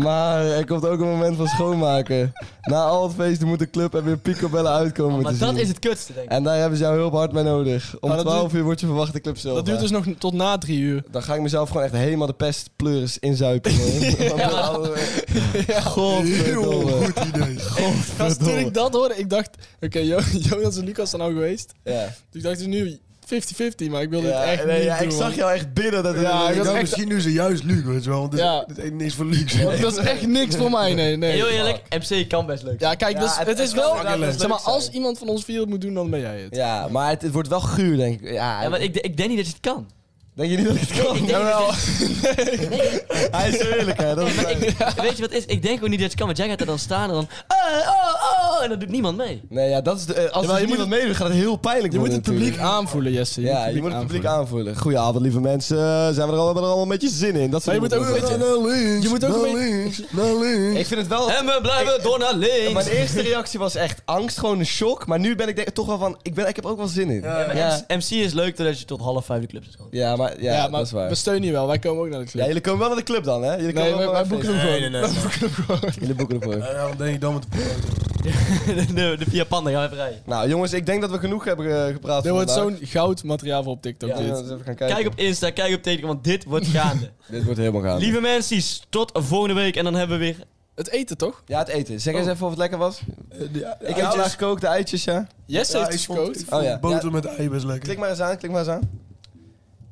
Speaker 2: Maar er komt ook een moment van schoonmaken. Na al het feesten moet de club er weer picobellen
Speaker 4: Oh,
Speaker 2: uitkomen
Speaker 1: Maar
Speaker 2: te
Speaker 1: dat
Speaker 2: zien.
Speaker 1: is het kutste, denk ik.
Speaker 2: En daar hebben ze jou heel hard mee nodig. Om
Speaker 4: Maar Nou, dat
Speaker 2: 12 uur wordt je verwachte club zelf.
Speaker 4: Dat duurt dus nog tot na drie uur.
Speaker 2: Dan ga ik mezelf gewoon echt helemaal de pestpleuris inzuipen. ja.
Speaker 3: Heel
Speaker 4: eh.
Speaker 2: Godverdomme.
Speaker 3: goed idee.
Speaker 4: Gast, toen ik dat hoorde, ik dacht... Oké, Jo- Jonas en Lucas zijn al geweest.
Speaker 2: Ja.
Speaker 4: Dus ik dacht, het is nu 50-50, maar ik wilde
Speaker 2: Ja,
Speaker 4: het echt
Speaker 2: nee,
Speaker 4: niet
Speaker 2: ja,
Speaker 4: doen,
Speaker 2: ik
Speaker 4: man.
Speaker 2: zag jou echt bidden. Dat
Speaker 4: Ja,
Speaker 2: dat-
Speaker 3: ik
Speaker 4: dat is
Speaker 3: dacht,
Speaker 4: echt-
Speaker 3: misschien doen ze juist Luc, weet je wel. Want dit,
Speaker 4: Ja.
Speaker 3: dit ain't niks voor Luc.
Speaker 4: Want Dat is echt niks voor mij, nee, nee.
Speaker 1: Heel eerlijk, MC kan best leuk.
Speaker 4: Ja, kijk,
Speaker 2: Ja,
Speaker 4: dus, het,
Speaker 2: het
Speaker 4: is
Speaker 2: kan
Speaker 4: wel...
Speaker 2: inderdaad best
Speaker 4: Zeg maar,
Speaker 2: leuk zijn.
Speaker 4: als iemand van ons vier het moet doen, dan ben jij het.
Speaker 2: ja, maar het, het wordt wel guur, denk ik. Ja,
Speaker 1: Ja, maar ik, ik denk niet dat je het kan.
Speaker 2: Denk je niet dat ik het kan?
Speaker 1: Ik denk
Speaker 2: Jawel.
Speaker 1: dat
Speaker 2: Hij is eerlijk, hè. Dat is
Speaker 1: Maar ik- Weet je wat het is? Ik denk ook niet dat je het kan, want jij gaat er dan staan en dan... Oh, oh, oh, en dan doet niemand mee.
Speaker 2: Nee, ja, dat is de, eh, als
Speaker 4: Jawel,
Speaker 2: er
Speaker 4: je moet
Speaker 2: niemand meedoet, gaat het heel pijnlijk
Speaker 4: Je moet
Speaker 2: worden
Speaker 4: het publiek
Speaker 2: natuurlijk.
Speaker 4: aanvoelen, Jesse.
Speaker 2: Ja, je moet het publiek aanvoelen. Goedenavond, lieve mensen. Zijn we er al, hebben we er allemaal met je zin in? Dat
Speaker 4: Maar je moet ook een beetje-
Speaker 3: Naar links,
Speaker 4: Je moet ook
Speaker 3: naar
Speaker 4: een beetje-
Speaker 3: links, naar links.
Speaker 2: Ik vind het wel...
Speaker 1: En we blijven door naar links.
Speaker 2: Mijn eerste reactie was echt angst, gewoon een shock. Maar nu ben ik denk- toch wel van, ik, ben, ik heb er ook wel zin in. Ja, ja.
Speaker 1: MC is leuk totdat je tot half vijf de club zit.
Speaker 2: maar, ja,
Speaker 4: Ja, maar
Speaker 2: dat is
Speaker 4: we
Speaker 2: waar.
Speaker 4: steunen je wel. Wij komen ook naar de club.
Speaker 2: Ja, jullie komen wel naar de club dan, hè?
Speaker 4: nee,
Speaker 2: Jullie komen
Speaker 4: wij,
Speaker 2: wel
Speaker 4: wij
Speaker 2: naar
Speaker 4: boeken
Speaker 2: feest.
Speaker 4: hem gewoon.
Speaker 2: Jullie boeken ervoor.
Speaker 3: Ja, dan denk ik dan met de poep uit.
Speaker 1: de, de, de Via Panda, gaan we even rijden.
Speaker 2: Nou, jongens, ik denk dat we genoeg hebben eh, gepraat
Speaker 4: Dit wordt
Speaker 2: vandaag.
Speaker 4: zo'n goud materiaal voor op TikTok,
Speaker 2: Ja, laten
Speaker 4: dit.
Speaker 2: we even gaan kijken.
Speaker 1: Kijk op Insta, kijk op Telegram, want dit wordt gaande.
Speaker 2: Dit wordt helemaal gaaf.
Speaker 1: Lieve mensen, tot volgende week. En dan hebben we weer...
Speaker 4: Het eten, toch?
Speaker 2: Ja, het eten. Zeg
Speaker 4: Oh.
Speaker 2: eens even of het lekker was.
Speaker 3: Eh, de- de
Speaker 2: Ik heb
Speaker 3: eitjes.
Speaker 2: vandaag gekookt, de eitjes, ja.
Speaker 4: Jesse
Speaker 3: Ja,
Speaker 4: heeft
Speaker 3: ik
Speaker 4: dus
Speaker 3: vond-
Speaker 4: gekookt.
Speaker 3: ik vond
Speaker 2: Oh, ja.
Speaker 3: Boter
Speaker 2: Ja.
Speaker 3: met ei best lekker.
Speaker 2: Klik maar eens aan, klik maar eens aan.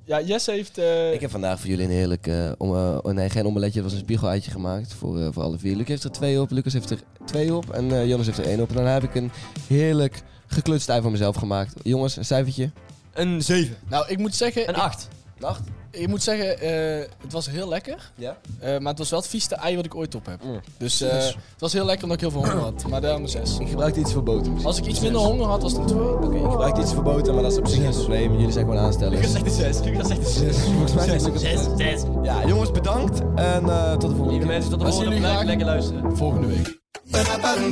Speaker 4: Ja, Jesse heeft... eh,
Speaker 2: Ik heb vandaag voor jullie een heerlijk, eh, om, eh, oh nee geen omeletje, het was een spiegeleitje gemaakt voor, eh, voor alle vier. Luc heeft er twee op, Lucas heeft er twee op en eh, Jonas heeft er één op. En dan heb ik een heerlijk geklutst ei voor mezelf gemaakt. Jongens, een cijfertje.
Speaker 1: Een 7.
Speaker 4: Nou, ik moet zeggen...
Speaker 1: Een
Speaker 4: ik-
Speaker 1: 8.
Speaker 2: Nacht.
Speaker 4: Ik moet zeggen, eh, het was heel lekker.
Speaker 2: Ja.
Speaker 4: Eh, maar het was wel het vieste ei wat ik ooit op heb.
Speaker 2: Mm.
Speaker 4: Dus eh, het was heel lekker omdat ik heel veel honger had. Maar daarom een 6.
Speaker 2: Ik gebruikte iets voor boter.
Speaker 4: Als ik iets minder honger had, was het een 2. Oké,
Speaker 2: Ik gebruikte iets voor boter, maar dat is op zich geen probleem. Jullie zijn gewoon aanstellers.
Speaker 1: zegt een 6. Lucas zegt een 6.
Speaker 2: Volgens mij is Lucas-
Speaker 1: 6, 6.
Speaker 2: Ja, jongens, bedankt en eh, tot de volgende
Speaker 1: Lieve
Speaker 2: keer.
Speaker 1: mensen, tot de
Speaker 4: Als
Speaker 1: volgende.
Speaker 4: jullie
Speaker 1: Blijf
Speaker 4: graag-
Speaker 1: lekker luisteren.
Speaker 4: volgende week.